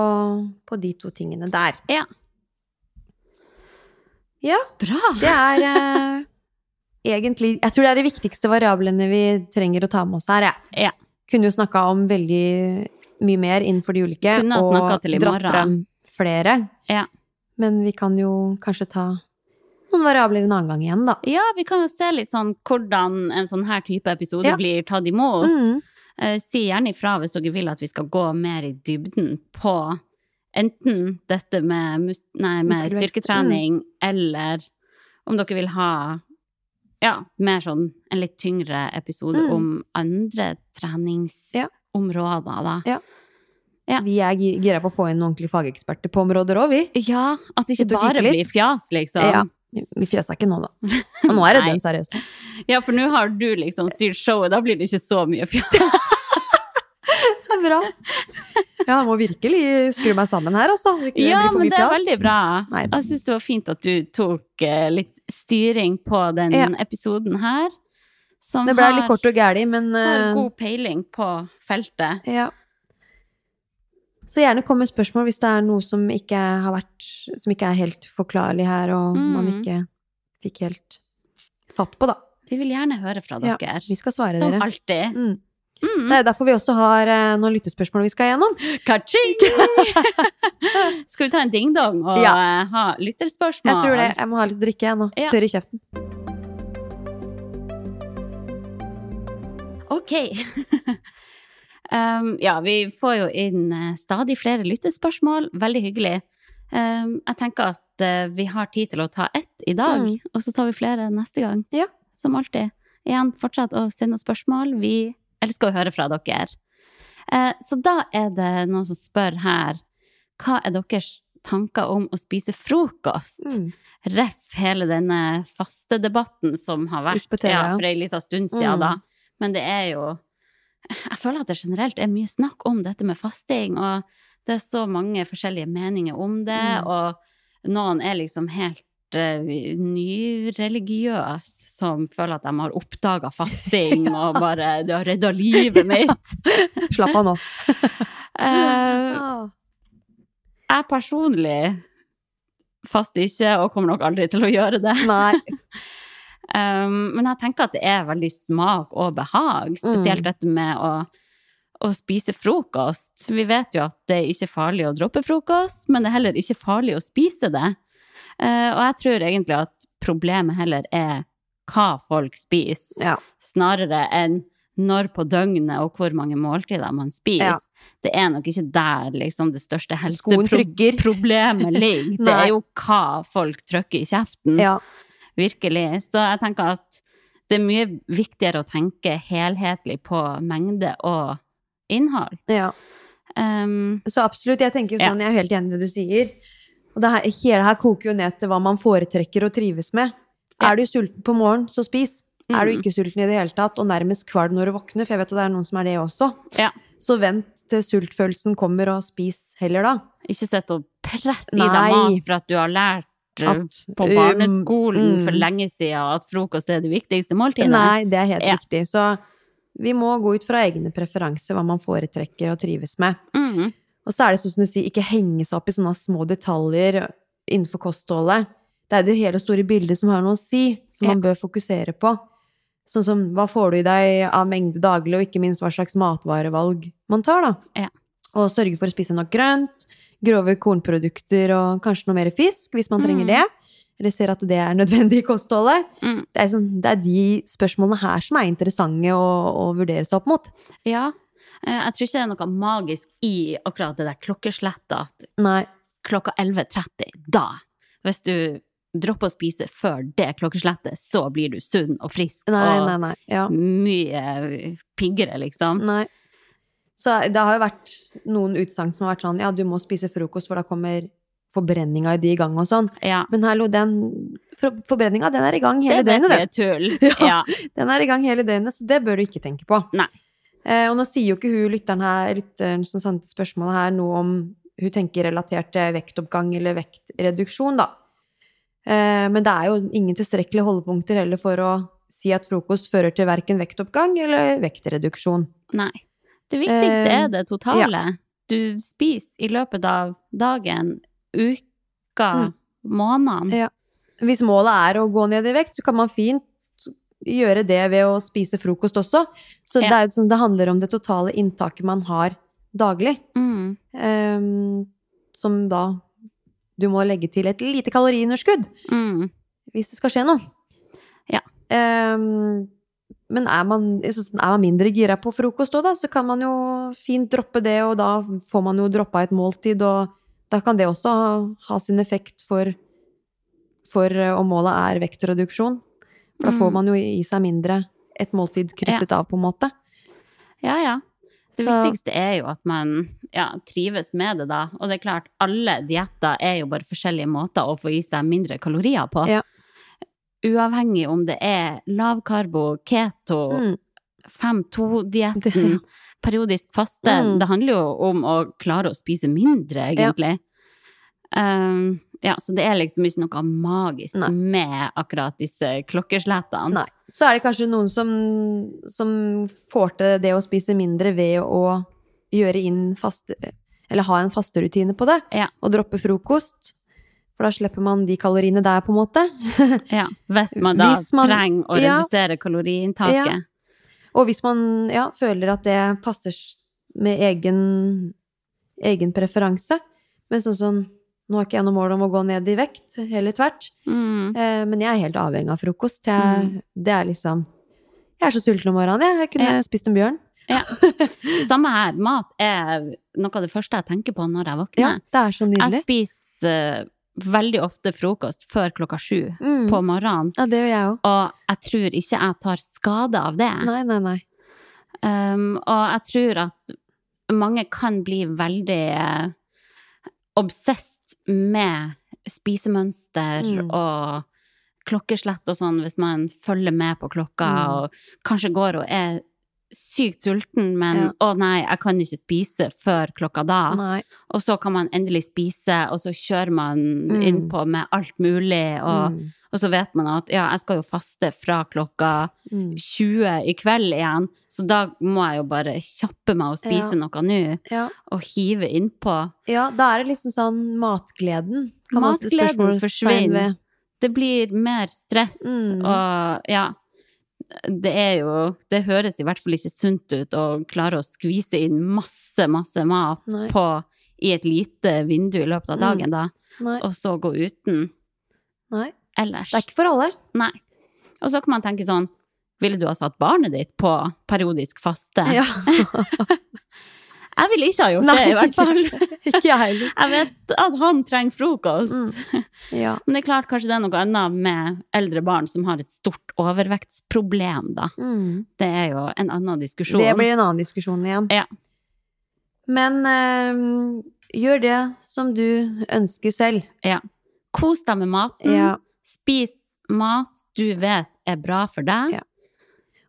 på de to tingene der.
Ja.
Ja,
Bra!
det er eh, egentlig Jeg tror det er de viktigste variablene vi trenger å ta med oss her, jeg.
Ja.
Kunne jo snakka om veldig mye mer innenfor de ulike,
Kunne ha snakket
og
til i
dratt
morgen.
frem flere.
Ja.
Men vi kan jo kanskje ta noen variabler en annen gang igjen, da.
Ja, vi kan jo se litt sånn hvordan en sånn her type episode
Ja.
blir tatt imot.
Mm.
Eh, Si gjerne ifra hvis dere vil at vi skal gå mer i dybden på enten dette med, mus nei, med
Muskelvekst,
styrketrening, eller om dere vil ha ja, mer sånn en litt tyngre episode
Mm.
om andre treningsområder, da. Ja.
Vi er gi- gira på å få inn noen ordentlige fageksperter på områder òg, vi.
Ja, at det ikke
Sitter og
bare
kikker
blir
litt.
fjas, liksom.
Ja. Vi fjøsa ikke
*laughs*
nå, da. Og nå er det
Nei.
den, seriøst.
Ja, for nå har du liksom styrt showet, da blir det ikke så mye fjas.
Det er bra. Ja, jeg må virkelig skru meg sammen her, altså. Ikke det
Ja,
blir for
men
mye
det er
fjas.
veldig bra.
Nei.
Jeg syns det var fint at du tok eh, litt styring på den
Ja.
episoden her. Som
Det ble
har-
litt kort og gæli, men
har
eh,
god peiling på feltet.
ja. Så gjerne kom med spørsmål hvis det er noe som ikke har vært Som ikke er helt forklarlig her, og
Mm.
man ikke fikk helt fatt på, da.
Vi vil gjerne høre fra
Ja,
dere.
Vi skal svare
som
dere.
alltid.
Mm. *laughs*
Mm.
Det er derfor vi også har eh, noen lyttespørsmål vi skal gjennom.
Ka-ching! *laughs* Skal vi ta en ding-dong og
Ja.
eh, ha lytterspørsmål?
Jeg tror det. Jeg må ha litt drikke, jeg nå.
Ja.
Tørr i kjeften.
Ok. *laughs* um, ja, vi får jo inn eh, stadig flere lyttespørsmål. Veldig hyggelig. Um, jeg tenker at eh, vi har tid til å ta ett i dag,
Mm.
og så tar vi flere neste gang.
Ja.
Som alltid. Igjen, fortsett å sende oss spørsmål. Vi elsker å høre fra dere. Eh, så da er det noen som spør her Hva er deres tanker om å spise frokost?
Mm.
Ref hele denne faste debatten som har vært
Ut på TV,
ja,
ja.
for ei lita stund siden,
Mm.
da. Men det er jo Jeg føler at det generelt er mye snakk om dette med fasting, og det er så mange forskjellige meninger om det,
Mm.
og noen er liksom helt eh, Nyreligiøs som føler at de har oppdaga fasting
*laughs*
og bare Det har redda livet mitt.
Slapp
*laughs*
av nå.
Eh, jeg personlig fast ikke, og kommer nok aldri til å gjøre det. *laughs*
Nei.
Um, men jeg tenker at det er veldig smak og behag, spesielt
Mm.
dette med å, å spise frokost. Vi vet jo at det er ikke farlig å droppe frokost, men det er heller ikke farlig å spise det. Eh, og jeg tror egentlig at problemet heller er hva folk spiser
Ja.
snarere enn når på døgnet og hvor mange måltider man spiser.
Ja.
Det er nok ikke der liksom, det største
Skoen trykker. *laughs*
helseproblemet ligger. Det
Nei.
er jo hva folk trykker i kjeften.
ja.
Virkelig. Så jeg tenker at det er mye viktigere å tenke helhetlig på mengde og innhold.
ja.
Um,
Så absolutt, jeg tenker jo sånn, jeg er helt enig i det du sier. Og det her, hele her koker jo ned til hva man foretrekker og trives med.
Ja.
Er du sulten på morgenen, så spis. Er du
Mm.
ikke sulten i det hele tatt, og nærmest kvalm når du våkner, for jeg vet at det er noen som er det også,
Ja.
så vent til sultfølelsen kommer, og spis heller da.
ikke sett og press i deg
Nei.
mat for at du har lært eh,
At,
på
um,
barneskolen
mm.
for lenge siden at frokost er det viktigste måltidet.
Nei, det er helt
Ja.
riktig. Så vi må gå ut fra egne preferanser, hva man foretrekker og trives med.
Mm.
Og så er det sånn som du sier, ikke henge seg opp i sånne små detaljer innenfor kostholdet. Det er det hele store bildet som har noe å si, som man bør fokusere på. Sånn som hva får du i deg av mengde daglig, og ikke minst hva slags matvarevalg man tar, da.
Ja.
Og sørge for å spise nok grønt, grove kornprodukter og kanskje noe mer fisk hvis man trenger
Mm.
det. Eller ser at det er nødvendig i kostholdet.
Mm.
Det er, sånn, det er de spørsmålene her som er interessante å, å vurdere seg opp mot.
Ja. Eh, Jeg tror ikke det er noe magisk i akkurat det der klokkeslettet at
Nei.
klokka 11.30, da, hvis du dropper å spise før det klokkeslettet, så blir du sunn og frisk
Nei,
og
nei, nei. Ja.
mye piggere, liksom.
Nei. Så det har jo vært noen utsagn som har vært sånn ja, du må spise frokost, for da kommer forbrenninga i de i gang og sånn.
Ja.
Men hallo, den for- forbrenninga, den er i gang hele
Det vet
døgnet,
vi
den.
er tull. Ja.
*laughs* Ja. Den er i gang hele døgnet, så det bør du ikke tenke på.
Nei.
Eh, og nå sier jo ikke hun lytteren her, lytteren som sendte spørsmålet her, noe om hun tenker relatert til vektoppgang eller vektreduksjon, da. Eh, men det er jo ingen tilstrekkelige holdepunkter heller for å si at frokost fører til verken vektoppgang eller vektreduksjon.
Nei. Det viktigste
Eh,
er det totale. Du spiser i løpet av dagen, uka,
Mm.
måneden.
Ja. hvis målet er å gå ned i vekt, så kan man fint gjøre det ved å spise frokost også. Så
Ja.
det, er, jo sånn- det handler om det totale inntaket man har daglig.
Mm.
ehm, som da du må legge til et lite kaloriunderskudd
Mm.
hvis det skal skje noe.
Ja.
Ehm, men er man, jeg synes, er man mindre gira på frokost òg, da, så kan man jo fint droppe det, og da får man jo droppa et måltid, og da kan det også ha, ha sin effekt for, for eh, om målet er vektreduksjon. For da
Mm.
får man jo i seg mindre et måltid krysset av, på en måte.
Ja, ja. Det
Så-
viktigste er jo at man ja, trives med det, da. Og det er klart, alle dietter er jo bare forskjellige måter å få i seg mindre kalorier på.
Ja.
Uavhengig om det er lavkarbo, keto,
Mm.
5-2-dietten,
Det-
periodisk faste.
Mm.
Det handler jo om å klare å spise mindre, egentlig. Um, ja, så det er liksom ikke noe magisk
Nei.
med akkurat disse klokkeslettene.
Nei. Så er det kanskje noen som, som får til det å spise mindre ved å gjøre inn faste Eller ha en fasterutine på det,
Ja.
og droppe frokost. For da slipper man de kaloriene der, på en måte. *laughs*
Ja, hvis man da
Hvis man-
trenger å
Ja.
redusere kaloriinntaket.
Ja. og hvis man ja, føler at det passer s- med egen, egen preferanse. Men sånn som Nå har ikke jeg noe mål om å gå ned i vekt, heller tvert.
Mm.
Eh, men jeg er helt avhengig av frokost. Jeg, Det er liksom Jeg er så sulten om morgenen, jeg. Jeg kunne
Ja.
spist en bjørn.
Samme her, mat er noe av det første jeg tenker på når jeg
Ja,
våkner.
det er så nydelig.
jeg spiser eh, veldig ofte frokost før klokka sju
Mm.
på morgenen,
Ja, det gjør jeg òg.
og jeg tror ikke jeg tar skade av det.
Nei, nei, nei.
Ehm, Um, og jeg tror at mange kan bli veldig eh, obsessed med spisemønster
Mm.
og klokkeslett og sånn, hvis man følger med på klokka
Mm.
og kanskje går og er sykt sulten, men
Ja.
å nei, jeg kan ikke spise før klokka da.
Nei.
Og så kan man endelig spise, og så kjører man
Mm.
innpå med alt mulig, og,
Mm.
og så vet man at ja, jeg skal jo faste fra klokka
Mm.
20 i kveld igjen, så da må jeg jo bare kjappe meg og
Ja.
spise noe nå,
Ja.
og hive innpå.
ja, da er det liksom sånn matgleden kan man stille
Matgleden
spørsmålstegn
forsvinner.
ved.
det blir mer stress,
Mm.
og ja. Det er jo Det høres i hvert fall ikke sunt ut å klare å skvise inn masse, masse mat
Nei.
på, i et lite vindu i løpet av
Mm.
dagen, da,
Nei.
og så gå uten
Nei.
ellers.
Det er ikke for alle.
Nei. Og så kan man tenke sånn Ville du ha satt barnet ditt på periodisk faste?
*laughs* Ja.
Jeg ville ikke ha gjort det, i hvert
*laughs*
fall.
ikke jeg heller.
Jeg vet at han trenger frokost.
Mm. Ja.
Men det er klart, kanskje det er noe annet med eldre barn som har et stort overvektsproblem, da.
Mm.
Det er jo en annen diskusjon.
Det blir en annen diskusjon igjen.
Ja.
Men eh, gjør det som du ønsker selv.
Kos deg med maten.
Ja.
Spis mat du vet er bra for deg.
Ja.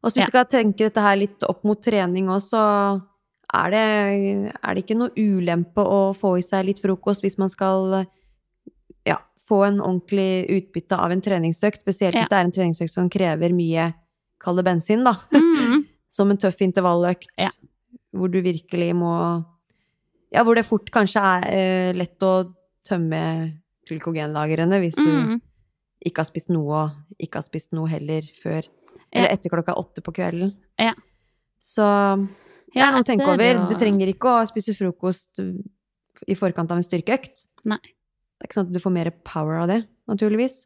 Og så hvis vi skal tenke dette her litt opp mot trening òg, så er det, er det ikke noe ulempe å få i seg litt frokost hvis man skal ja, få en ordentlig utbytte av en treningsøkt, spesielt
Ja.
hvis det er en treningsøkt som krever mye kall det bensin, da.
Mm.
*laughs* Som en tøff intervalløkt
Ja.
hvor du virkelig må Ja, hvor det fort kanskje er eh, lett å tømme glykogenlagrene hvis du
Mm.
ikke har spist noe, og ikke har spist noe heller før Eller
Ja.
etter klokka åtte på kvelden.
Ja.
Så det er
Ja,
noe
jeg
å tenke
ser det
over.
jo.
Du trenger ikke å spise frokost i forkant av en styrkeøkt.
Nei.
Det er ikke sånn at du får mer power av det, naturligvis.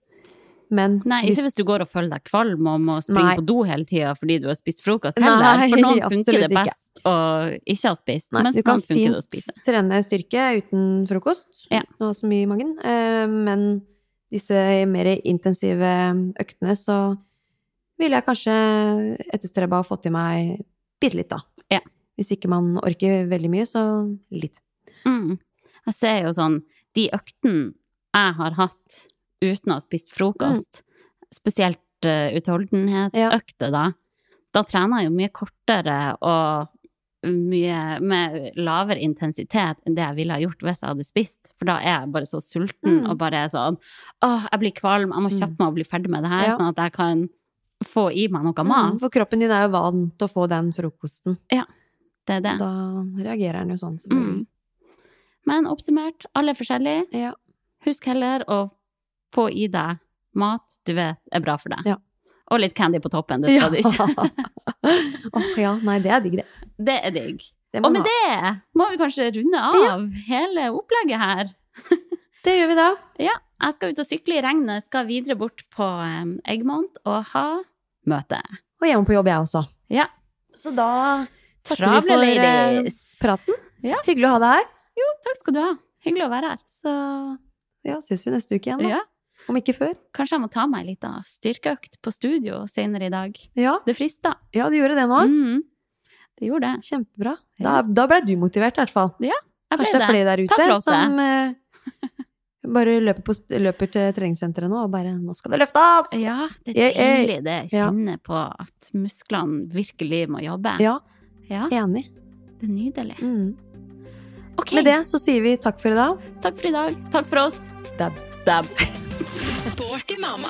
Men
Nei, ikke hvis du går og føler deg kvalm og må springe
Nei.
på do hele tida fordi du har spist frokost
Nei,
heller. for
*laughs*
noen funker
absolutt
det
ikke.
best å ikke ha spist,
Nei,
mens
du kan
noen funker det å
fint
spise.
trene styrke uten frokost,
Ja.
uten å ha så mye i magen. Eh, Men disse mer intensive øktene, så ville jeg kanskje etterstreba å få til meg bitte litt, da.
Ja.
Hvis ikke man orker veldig mye, så litt.
Mm. Jeg ser jo sånn De øktene jeg har hatt uten å ha spist frokost,
Mm.
spesielt eh, utholdenhetsøkter, da, da trener jeg jo mye kortere og mye med lavere intensitet enn det jeg ville ha gjort hvis jeg hadde spist. For da er jeg bare så sulten
Mm.
og bare er sånn Åh, jeg blir kvalm, jeg må kjappe meg og bli ferdig med det her,
Ja.
sånn at jeg kan få i meg noe
Mm,
mat.
For kroppen din er jo vant til å få den frokosten.
Det er det.
Da reagerer den jo sånn. selvfølgelig.
Mm. Men oppsummert, alle er forskjellige.
Ja.
Husk heller å få i deg mat du vet er bra for deg.
Ja.
Og litt candy på toppen, det skal du ikke.
Åh ja, *laughs* nei, det er digg, det.
*laughs* Det er digg.
Det, må
Og med
man ha.
det må vi kanskje runde av hele opplegget her.
det gjør vi da.
Ja, jeg skal ut og sykle i regnet, skal videre bort på um, Eggmont og ha møte.
Og jeg må på jobb, jeg også.
Ja.
Så da takker
Travle
vi for eh,
ladies.
praten.
Ja.
Hyggelig å ha deg her.
Jo, takk skal du ha. Hyggelig å være her.
Så ja, ses vi neste uke igjen, da.
Ja.
Om ikke før.
Kanskje jeg må ta meg en liten styrkeøkt på studio senere i dag.
Ja,
Det frister.
ja du gjorde det nå.
Mm. Det gjorde det.
Kjempebra. Da,
Ja.
da blei du motivert, i hvert fall.
Jeg ble
Kanskje det er flere der ute
Takk, Lotte.
som eh, bare løper, på, løper til treningssenteret nå og bare 'Nå skal det løftes!'
Ja, det
Jeg-
er
jeg-
deilig det.
ja.
Kjenne på at musklene virkelig må jobbe.
Ja,
Ja,
enig.
det er nydelig.
Mm.
Ok,
Med det så sier vi takk for i dag.
takk for i dag. Takk for oss.
Dab.
Dab.
Sporty mama.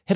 Hit